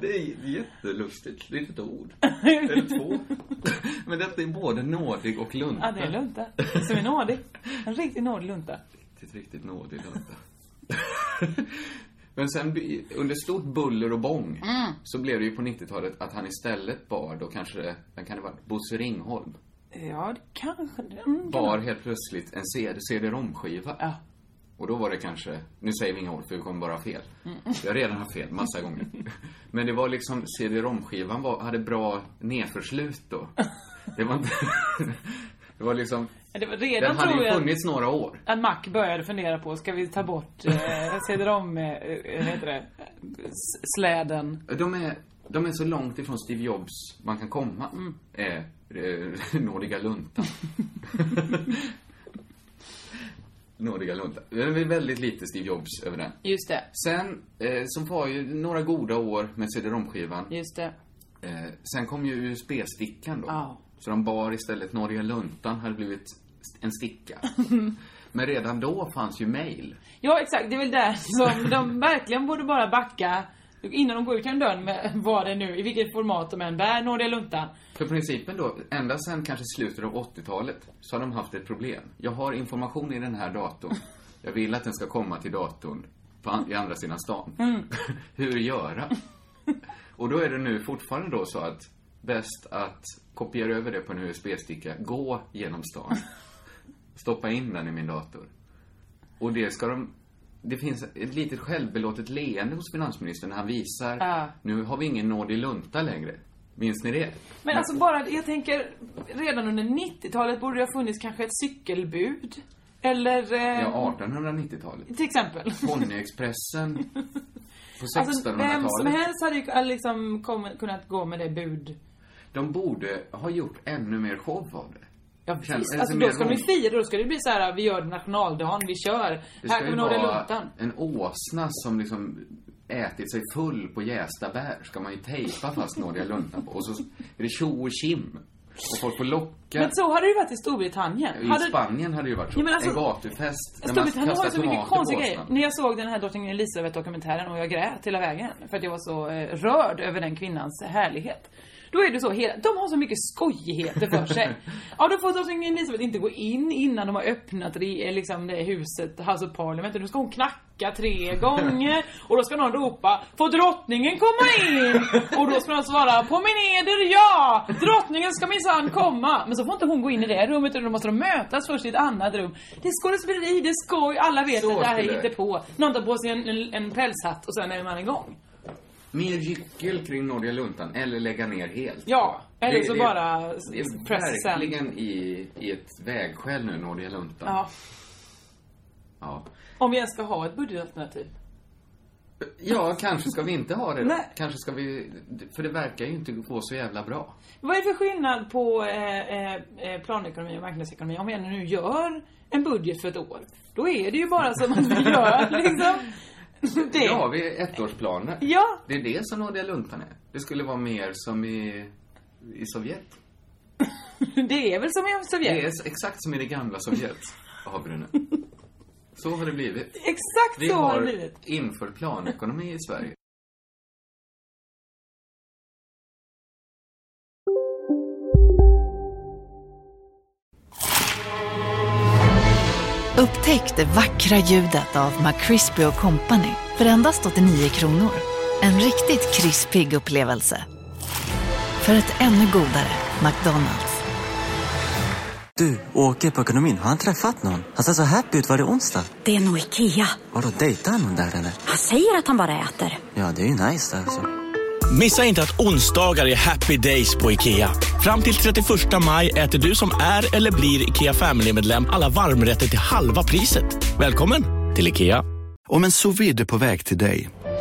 [SPEAKER 6] Det är jättelustigt litet ord. Eller två. Men detta är både nådig och lunta.
[SPEAKER 7] Ja, det är en lunta. Som är nådig. En riktigt nådig lunta.
[SPEAKER 6] Riktigt, riktigt nådig lunta. Men sen by- under stort buller och bång
[SPEAKER 7] Mm.
[SPEAKER 6] så blev det ju på 90-talet att han istället bar då kanske, vem kan det vara, Bosse Ringholm.
[SPEAKER 7] Ja, det kanske... Mm, kan
[SPEAKER 6] bar helt plötsligt en CD, CD-ROM-skiva. Och då var det kanske, nu säger vi inga ord för vi kommer bara ha fel.
[SPEAKER 7] Mm.
[SPEAKER 6] Jag har redan haft fel massa gånger. Men det var liksom, CD-ROM-skivan var, hade bra nedförslut då. Det var inte, det var liksom,
[SPEAKER 7] Ja, det var
[SPEAKER 6] den
[SPEAKER 7] redan
[SPEAKER 6] hade
[SPEAKER 7] tror
[SPEAKER 6] ju
[SPEAKER 7] jag
[SPEAKER 6] funnits några år.
[SPEAKER 7] att Mac började fundera på, ska vi ta bort eh, cd-rom, eh, vad heter det, S- släden?
[SPEAKER 6] De är, de är så långt ifrån Steve Jobs man kan komma.
[SPEAKER 7] Mm.
[SPEAKER 6] Eh, eh, nådiga luntan. nådiga luntan. Det är väldigt lite Steve Jobs över den.
[SPEAKER 7] Just det,
[SPEAKER 6] Sen, eh, som var ju några goda år med CD-ROM-skivan.
[SPEAKER 7] just det.
[SPEAKER 6] Eh, sen kom ju USB-stickan då.
[SPEAKER 7] Ja.
[SPEAKER 6] Så de bar istället Norge Luntan hade blivit st- en sticka. Men redan då fanns ju mail.
[SPEAKER 7] Ja, exakt. Det är väl där som de verkligen borde bara backa innan de går ut genom dörren med vad det nu, i vilket format de än bär nådiga luntan.
[SPEAKER 6] För principen då, ända sen kanske slutet av 80-talet så har de haft ett problem. Jag har information i den här datorn. Jag vill att den ska komma till datorn på an- i andra sidan stan. Hur göra? Och då är det nu fortfarande då så att bäst att kopiera över det på en USB-sticka, gå genom stan, stoppa in den i min dator. Och det ska de... Det finns ett litet självbelåtet leende hos finansministern när han visar,
[SPEAKER 7] Ja.
[SPEAKER 6] nu har vi ingen nådig lunta längre. Minns ni det?
[SPEAKER 7] Men alltså bara, jag tänker, redan under 90-talet borde det ha funnits kanske ett cykelbud. Eller, eh,
[SPEAKER 6] Ja, 1890-talet.
[SPEAKER 7] till exempel.
[SPEAKER 6] Ponyexpressen på
[SPEAKER 7] Alltså, vem som
[SPEAKER 6] 1600-talet.
[SPEAKER 7] helst hade ju liksom kommit, kunnat gå med det bud.
[SPEAKER 6] De borde ha gjort ännu mer show av det.
[SPEAKER 7] Ja,
[SPEAKER 6] Känns-
[SPEAKER 7] Visst,
[SPEAKER 6] eller
[SPEAKER 7] alltså,
[SPEAKER 6] mer
[SPEAKER 7] då ska de
[SPEAKER 6] rom-
[SPEAKER 7] ju fira, då ska det bli så här, vi gör nationaldagen, vi kör.
[SPEAKER 6] Det
[SPEAKER 7] Här
[SPEAKER 6] ska
[SPEAKER 7] kommer
[SPEAKER 6] ju
[SPEAKER 7] nådiga
[SPEAKER 6] vara
[SPEAKER 7] luntan.
[SPEAKER 6] en åsna som liksom ätit sig full på jästa bär ska man ju tejpa fast nådiga luntan på. Och så är det tjo och tjim. Och folk får locka.
[SPEAKER 7] Men så hade det ju varit i Storbritannien.
[SPEAKER 6] I
[SPEAKER 7] hade...
[SPEAKER 6] Spanien hade det ju varit så.
[SPEAKER 7] Ja, men alltså-
[SPEAKER 6] en gatufest där man
[SPEAKER 7] Storbritannien har
[SPEAKER 6] kastar
[SPEAKER 7] ju så mycket
[SPEAKER 6] tomater på
[SPEAKER 7] konstiga grejer.
[SPEAKER 6] åsnan.
[SPEAKER 7] När jag såg den här drottning Elizabeth-dokumentären och jag grät hela vägen för att jag var så eh, rörd över den kvinnans härlighet. Då är det så hela, de har så mycket skojigheter för sig. ja, då får drottning Elizabeth inte gå in innan de har öppnat re, liksom det huset, House of Parliament. Och Då ska hon knacka tre gånger och då ska någon ropa Får drottningen komma in? Och då ska någon svara På min eder ja! Drottningen ska minsann komma! Men så får inte hon gå in i det rummet utan då måste de mötas först i ett annat rum. Det är skådespeleri, det är skoj, alla vet
[SPEAKER 6] Så
[SPEAKER 7] att det här
[SPEAKER 6] skulle-
[SPEAKER 7] är på. Någon tar på sig en, en, en pälshatt och sen är man igång.
[SPEAKER 6] Mer gyckel kring nådiga luntan eller lägga ner helt.
[SPEAKER 7] Ja, eller
[SPEAKER 6] Det-
[SPEAKER 7] så
[SPEAKER 6] det-
[SPEAKER 7] bara
[SPEAKER 6] Det är
[SPEAKER 7] pressa sen.
[SPEAKER 6] verkligen i, i ett vägskäl nu, Nordiga luntan.
[SPEAKER 7] Ja.
[SPEAKER 6] Ja.
[SPEAKER 7] Om vi ens ska ha ett budgetalternativ.
[SPEAKER 6] Ja, kanske ska vi inte ha det då.
[SPEAKER 7] Nej.
[SPEAKER 6] Kanske ska vi... För det verkar ju inte gå så jävla bra.
[SPEAKER 7] Vad är det för skillnad på eh, eh, planekonomi och marknadsekonomi? Om vi ändå nu gör en budget för ett år. Då är det ju bara som att vi gör liksom. Det.
[SPEAKER 6] Nu har vi ettårsplaner.
[SPEAKER 7] Ja.
[SPEAKER 6] Det är det som Nådiga Luntan är. Det skulle vara mer som i, i Sovjet.
[SPEAKER 7] Det är väl som i Sovjet?
[SPEAKER 6] Det är s- exakt som i det gamla Sovjet, har vi det nu. Så har det blivit.
[SPEAKER 7] Exakt
[SPEAKER 6] vi
[SPEAKER 7] så har det
[SPEAKER 6] har
[SPEAKER 7] blivit.
[SPEAKER 6] infört planekonomi i Sverige.
[SPEAKER 10] Upptäck det vackra ljudet av McCrispy Company för endast 89 kronor. En riktigt krispig upplevelse. För ett ännu godare McDonalds.
[SPEAKER 11] Du, åker på ekonomin. Har han träffat någon? Han ser så happy ut. Var det onsdag?
[SPEAKER 12] Det är nog Ikea.
[SPEAKER 11] Vadå, dejtar han någon där eller?
[SPEAKER 12] Han säger att han bara äter.
[SPEAKER 11] Ja, det är ju nice alltså.
[SPEAKER 13] Missa inte att onsdagar är happy days på IKEA. Fram till 31 maj äter du som är eller blir IKEA Family-medlem alla varmrätter till halva priset. Välkommen till IKEA.
[SPEAKER 14] Om en sous vide är på väg till dig